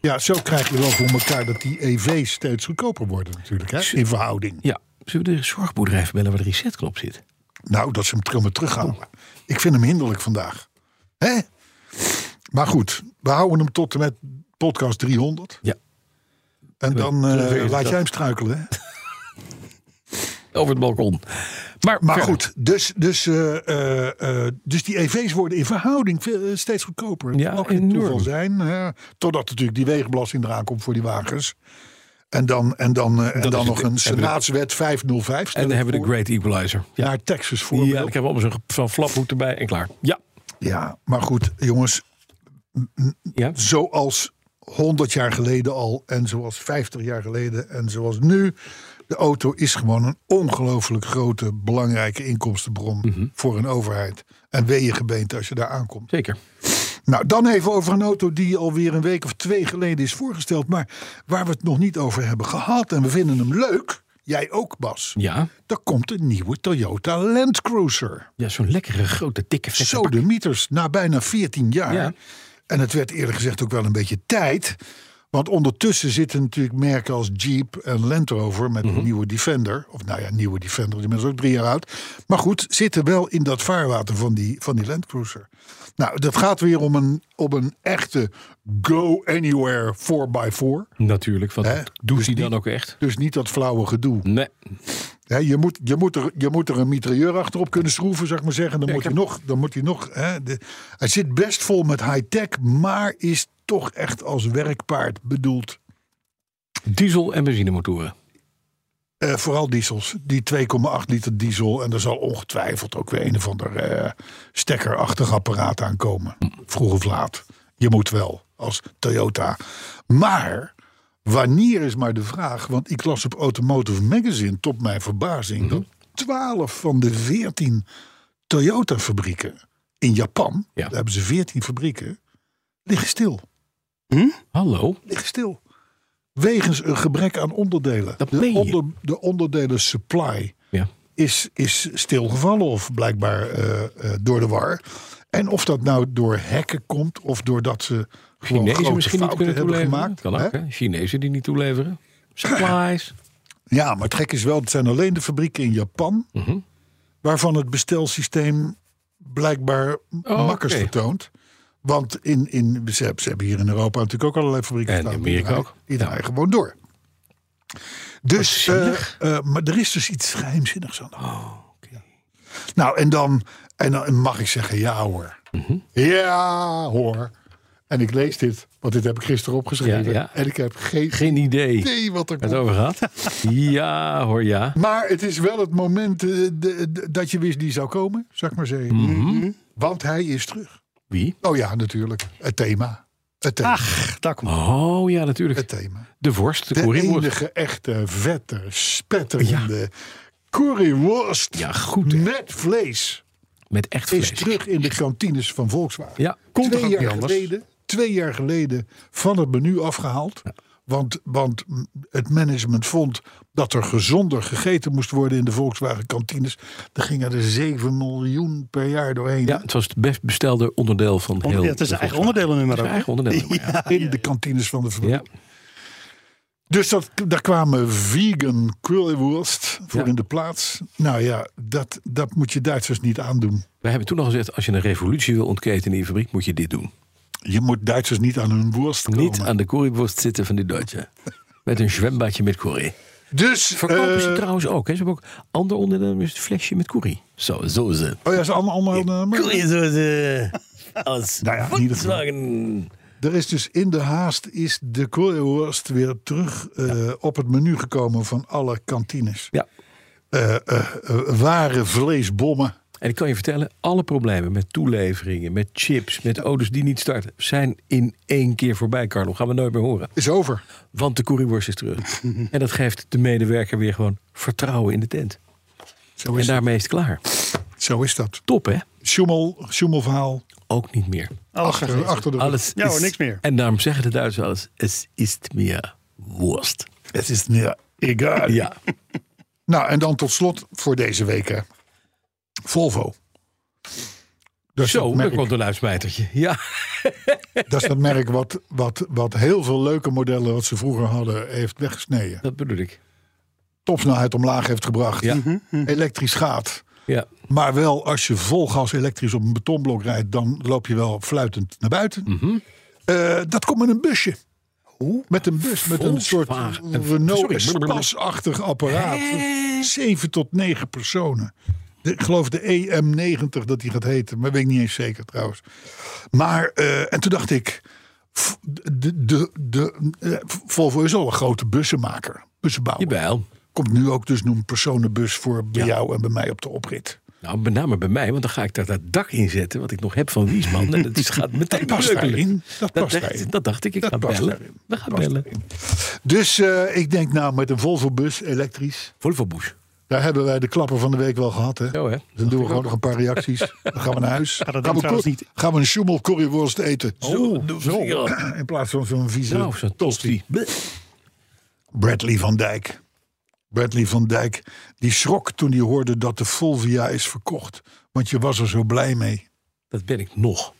Ja, zo krijg je wel voor elkaar dat die EV's steeds goedkoper worden natuurlijk, hè, in verhouding. Ja, zullen we de zorgbedrijf bellen waar de resetknop zit? Nou, dat ze hem terug maar terughalen. Ik vind hem hinderlijk vandaag. Hè? Maar goed, we houden hem tot en met podcast 300. Ja. En dan eh, Weer is laat dat. jij hem struikelen, hè? Over het balkon. Maar, Maar verder. goed, dus, dus, eh, eh, eh, dus die EV's worden in verhouding veel- eh, steeds goedkoper. Ja, het mag geen enorm. toeval zijn. hè. totdat natuurlijk die wegenbelasting eraan komt voor die wagens. En dan, en dan, eh, en Dat dan is nog het. een Hebben we- Senaatswet 505. stel En dan ik hebben we de voor, Great Equalizer. Ja, Naar Texas ja voor. ik Ja, heb allemaal zo'n zo'n flaphoed erbij en klaar. Ja. maar goed, jongens. Ja. Zoals 100 jaar geleden al. En zoals 50 jaar geleden. En zoals nu. De auto is gewoon een ongelooflijk grote, belangrijke inkomstenbron voor een overheid. En wee je gebeente als je daar aankomt. Zeker. Nou, dan even over een auto die alweer een week of twee geleden is voorgesteld. Maar waar we het nog niet over hebben gehad. En we vinden hem leuk. Jij ook, Bas. Ja. Er komt een nieuwe Toyota Land Cruiser. Ja, zo'n lekkere grote dikke vette Zo bak. de mieters, na bijna 14 jaar. Ja. En het werd eerlijk gezegd ook wel een beetje tijd. Want ondertussen zitten natuurlijk merken als Jeep en Land Rover met Mhm. een nieuwe Defender. Of nou ja, nieuwe Defender, die is ook drie jaar oud. Maar goed, zitten wel in dat vaarwater van die, van die Land Cruiser. Nou, dat gaat weer om een, om een echte go anywhere 4x4. Natuurlijk, want Hè? dat doet Dus hij dan niet- ook echt? Dus niet dat flauwe gedoe. Nee. Hè, je, moet, je, moet er, je moet er een mitrailleur achterop kunnen schroeven, zou ik maar zeggen. Dan moet hij nog. Dan moet hij, nog hè, de, hij zit best vol met high-tech, maar is toch echt als werkpaard bedoeld. Diesel- en benzinemotoren. Eh, vooral diesels. Die 2,8 liter diesel. En er zal ongetwijfeld ook weer een of ander eh, stekkerachtig apparaat aankomen. Vroeg of laat. Je moet wel, als Toyota. Maar wanneer is maar de vraag. Want ik las op Automotive Magazine, tot mijn verbazing... Mhm. dat 12 van de 14 Toyota-fabrieken in Japan... Ja. daar hebben ze 14 fabrieken, liggen stil. Hallo? Liggen stil. Wegens een gebrek aan onderdelen. Dat meen de, je. de onderdelen supply Ja. is, is stilgevallen of blijkbaar eh, eh, door de war. En of dat nou door hekken komt of doordat ze gewoon Chinezen grote misschien niet fouten kunnen hebben toeleveren. gemaakt. kan ook, hè? hè? Chinezen die niet toeleveren. Supplies. Ja, maar het gek is wel, het zijn alleen de fabrieken in Japan... Mhm. waarvan het bestelsysteem blijkbaar makkers Oh, oké. vertoont. Want in, in, ze, hebben- ze hebben hier in Europa natuurlijk ook allerlei fabrieken En staan. Die Amerika draaien- ook. Die Ja. draaien gewoon door. Dus, Wat eh, zielig. Oh, eh, maar er is dus iets geheimzinnigs aan de hand. Nou, en dan, en dan mag ik zeggen, ja hoor. Mhm. Ja hoor. En ik lees dit, want dit heb ik gisteren opgeschreven. Ja, ja. En ik heb geen, Geen idee waar idee wat er het komt. over gaat. Ja hoor, ja. Maar het is wel het moment eh, de- de- dat je wist die zou komen, zou ik maar zeggen. Mhm. Mhm. Want hij is terug. Wie? Oh ja, natuurlijk. Het thema. Het thema. Ach, daar komt Oh ja, het natuurlijk. thema. De vorst, de, De koerienworst. enige echte vette, spetterende curryworst Ja, goed. hè. met vlees Met echt is vlees. terug in de kantines van Volkswagen. Ja. Komt toch twee ook niet jaar anders? geleden, twee jaar geleden van het menu afgehaald. Want, want m, het management vond dat er gezonder gegeten moest worden in de Volkswagen kantines. Er gingen er 7 miljoen per jaar doorheen. Ja, hè? het was het best bestelde onderdeel van heel... Ja, het is de een eigen Volkswagen. onderdelennummer Het is een ook. eigen onderdeel. Ja. in de kantines van de fabriek. Ja. Dus dat, daar kwamen vegan currywurst voor Ja. in de plaats. Nou ja, dat, dat moet je Duitsers niet aandoen. We hebben toen al gezegd, als je een revolutie wil ontketen in je fabriek, moet je dit doen. Je moet Duitsers niet aan hun worst komen. Niet aan de koerienworst zitten van die Duitse. Met een zwembadje met korie. Dus, Verkopen ze eh, trouwens ook. Hè? Ze hebben ook ander onderdeel, dus het flesje met koerie. Zo, zo ze. Oh ja, ze allemaal allemaal. Koerie zo ze. Als Nou ja, in ieder geval. Volkswagen. Er is dus in de haast is de currywurst weer terug eh, op het menu gekomen van alle kantines. Ja. Eh, eh, eh, ware vleesbommen. En ik kan je vertellen, alle problemen met toeleveringen, met chips, met auto's die niet starten, zijn in één keer voorbij, Carlo. Gaan we nooit meer horen. Is over. Want de currywurst is terug. en dat geeft de medewerker weer gewoon vertrouwen in de tent. Zo En is, daarmee is het klaar. zo is dat. Top, hè? Sjoemel, sjoemelverhaal. Ook niet meer. Alles Achter, gegeten. achter de rug. Alles Ja hoor, is- niks meer. En daarom zeggen de Duitsers alles. Het is meer worst. Het is ja, egal. Ja. Nou, en dan tot slot voor deze week. Hè. Volvo. Dat is, Zo, dat, daar merk, komt een luidsmijtertje. Ja. dat is dat merk wat, wat, wat heel veel leuke modellen wat ze vroeger hadden heeft weggesneden. Dat bedoel ik. Topsnelheid omlaag heeft gebracht. Ja. Elektrisch gaat. Ja. Maar wel als je vol gas elektrisch op een betonblok rijdt, dan loop je wel fluitend naar buiten. Mhm. Eh, dat komt met een busje. Met een bus, met een soort Volkswagen. Renault Sorry. Espace-achtig apparaat. Zeven tot negen personen. De- ik geloof de EM90 dat die gaat heten, maar weet ik niet eens zeker trouwens. Maar, eh, en toen dacht ik, f- de, de, de, eh, Volvo is al een grote bussenmaker, bussenbouwer. Jawel. Komt nu ook dus een personenbus voor bij jou en bij mij op de oprit. Nou, met name bij mij, want dan ga ik daar dat dak in zetten wat ik nog heb van Wiesman. En dat is, gaat meteen past breukelen. daarin. Dat past dacht, daarin. Dat dacht ik, ik Dat ga past bellen. daarin. We gaan bellen. Dus eh, ik denk nou met een Volvo bus elektrisch. Volvo Bush. Daar hebben wij de klapper van de week wel gehad. Hè? Zo, hè? Dan doen we gewoon nog een paar reacties. Dan gaan we naar huis. dat gaan, dan we trouwens cor- niet. gaan we een schoemel curryworst eten. Zo. zo. In plaats van zo'n vieze Nou, zo'n tosti. Bleh. Bradley van Dijk. Bradley van Dijk. Die schrok toen hij hoorde dat de Volvia is verkocht. Want je was er zo blij mee. Dat ben ik nog.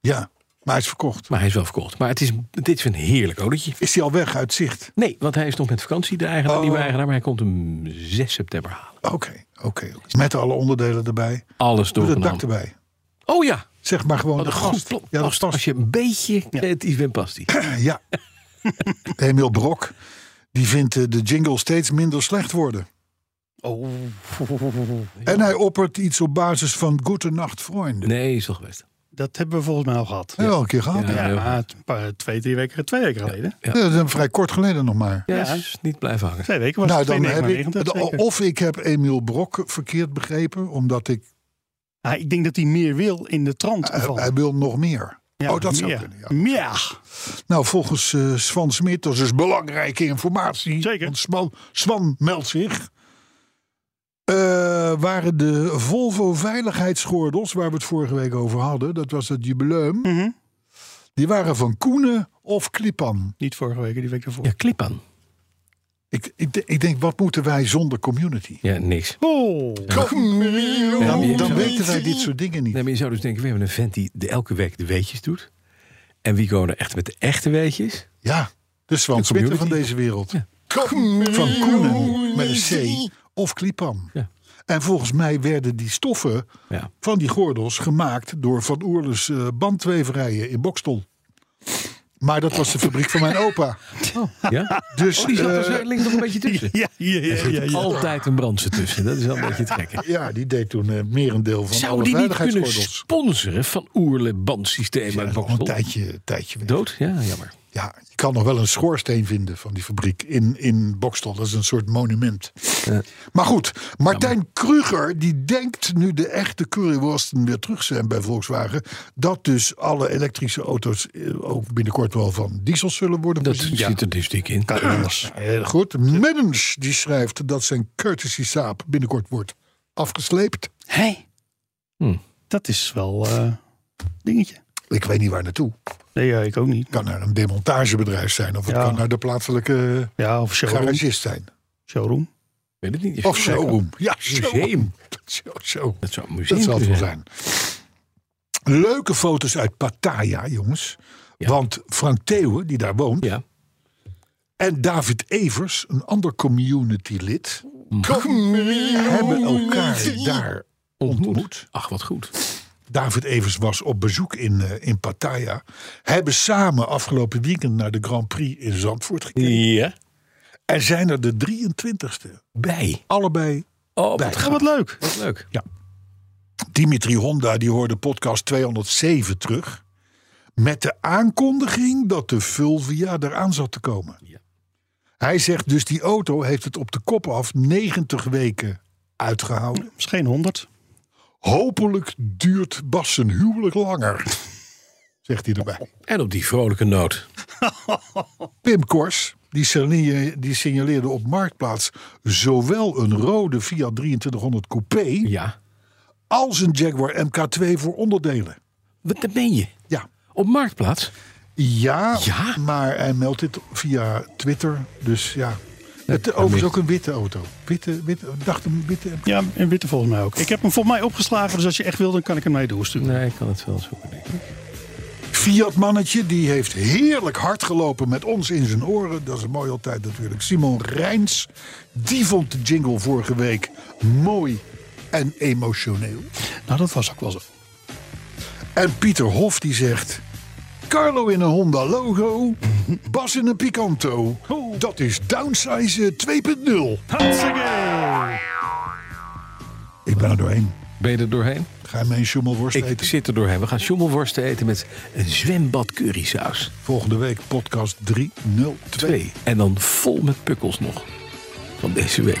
Ja, maar hij is verkocht. Maar hij is wel verkocht. Maar het is, dit is een heerlijk autootje. Is hij al weg uit zicht? Nee, want hij is nog met vakantie, de eigenaar, Oh. nieuwe eigenaar. Maar hij komt hem 6 september halen. Oké, oké. oké. Met alle onderdelen erbij. Alles door Doe en dat dak aan. erbij. Oh ja, Zeg maar gewoon wat de een goed gast. plan. Ja, dat als, past. als je een beetje creatief bent, past die. Ja. Emiel Brok. Die vindt eh, de jingle steeds minder slecht worden. Oh. En hij oppert iets op basis van Goedenacht, vrienden. Nee, is wel geweest. Dat hebben we volgens mij al gehad. Hebben we al een keer gehad. Ja. Ja, een paar, twee, drie weken, twee weken geleden. Ja, dat is vrij kort geleden nog maar. Ja, Ja. is niet blijven hangen. Twee weken was nou, het dan heb ik, 2,99, de- zeker. of ik heb Emiel Brok verkeerd begrepen, omdat ik, Ah, ik denk dat hij meer wil in de trant hij, van. hij wil nog meer. Ja, oh, dat zou meer. kunnen, ja. Ja. Nou, volgens eh, Swan Smit, dat is dus belangrijke informatie. Zeker. Want Swan, Swan meldt zich. Eh, waren de Volvo veiligheidsgordels, waar we het vorige week over hadden, dat was het jubileum, Mhm. die waren van Koenen of Klipan. Niet vorige week, die week ervoor. Ja, klip aan. Ik, ik, de- ik denk, wat moeten wij zonder community? Ja, niks. Oh, Dan, dan Ja. weten wij dit soort dingen niet. Nee, maar je zou dus denken, we hebben een vent die de- elke week de weetjes doet. En wie komen er echt met de echte weetjes? Ja, de Swan Smitten van community. deze wereld. Ja. Van Koenen met een C of Klipan. Ja. En volgens mij werden die stoffen Ja. van die gordels gemaakt door Van Oerles eh, bandweverijen in Bokstol. Maar dat was de fabriek van mijn opa. ja? Dus Oh, die zat er eh, zo- ligt nog een beetje tussen. ja, ja, ja, ja, ja. Altijd een brandse tussen. Dat is wel een beetje het gekke. ja, die deed toen eh, merendeel van Zou alle die niet kunnen veiligheidsgordels. sponsoren van Oerle bandsysteem uit Ja, al een Bokstel? tijdje, tijdje weg. Dood? Ja, jammer. Ja, je kan nog wel een schoorsteen vinden van die fabriek in, in Bokstel. Dat is een soort monument. Maar goed, Martijn Kruger die denkt nu de echte curryworsten weer terug zijn bij Volkswagen. Dat dus alle elektrische auto's eh, ook binnenkort wel van diesels zullen worden Dat voorzien. zit er dus dik in. Heel goed. Mennens die schrijft dat zijn courtesy saap binnenkort wordt afgesleept. Hé. Hm. Dat is wel eh, een dingetje. Ik weet niet waar naartoe. Nee, ja, ik ook niet. Kan naar een demontagebedrijf zijn of het Ja. kan naar de plaatselijke Ja, of showroom. garagist zijn. showroom. Weet het niet. Of showroom. Ja, showroom. Museum. Zo, zo. Dat zou een Dat museum zal het wel kunnen zijn. Leuke foto's uit Pattaya, jongens. Want Frank Theeuwen, die daar woont, Ja. en David Evers, een ander community-lid, hebben elkaar daar ontmoet. Ach, wat goed. David Evers was op bezoek in, eh, in Pattaya. Hebben samen afgelopen weekend naar de Grand Prix in Zandvoort gekeken. Ja. En zijn er de 23ste. Bij. Allebei. Oh, Bij. wat, Ja, gaaf. wat leuk. Wat leuk. Dimitri Honda die hoorde podcast 207 terug. Met de aankondiging dat de Fulvia eraan zat te komen. Ja. Hij zegt dus die auto heeft het op de kop af 90 weken uitgehouden. is geen 100. Hopelijk duurt Bas zijn huwelijk langer. Zegt hij erbij. En op die vrolijke noot. Pim Kors, die signaleerde, die signaleerde op Marktplaats zowel een rode Fiat 2300 Coupé Ja. als een Jaguar MK2 voor onderdelen. Wat dat meen je? Ja, Op Marktplaats? ja, Ja? maar hij meldt dit via Twitter. Dus ja. Het, overigens ook een witte auto. Witte, witte, ik dacht een witte MK. Ja, en witte volgens mij ook. Ik heb hem volgens mij opgeslagen, dus als je echt wil, dan kan ik hem mee doorsturen. Nee, ik kan het wel zoeken, denk ik. Fiat mannetje, die heeft heerlijk hard gelopen met ons in zijn oren. Dat is mooi altijd natuurlijk. Simon Rijns, die vond de jingle vorige week mooi en emotioneel. Nou, dat was ook wel zo. En Pieter Hof die zegt... Carlo in een Honda logo, Bas in een Picanto. Dat is downsize 2.0. Ik ben er doorheen. Ben je er doorheen? Ga je mee een schommelworst Ik eten? zit er doorheen. We gaan schommelworsten eten met een zwembad currysaus. Volgende week podcast 302. Twee. En dan vol met pukkels nog. Van deze week.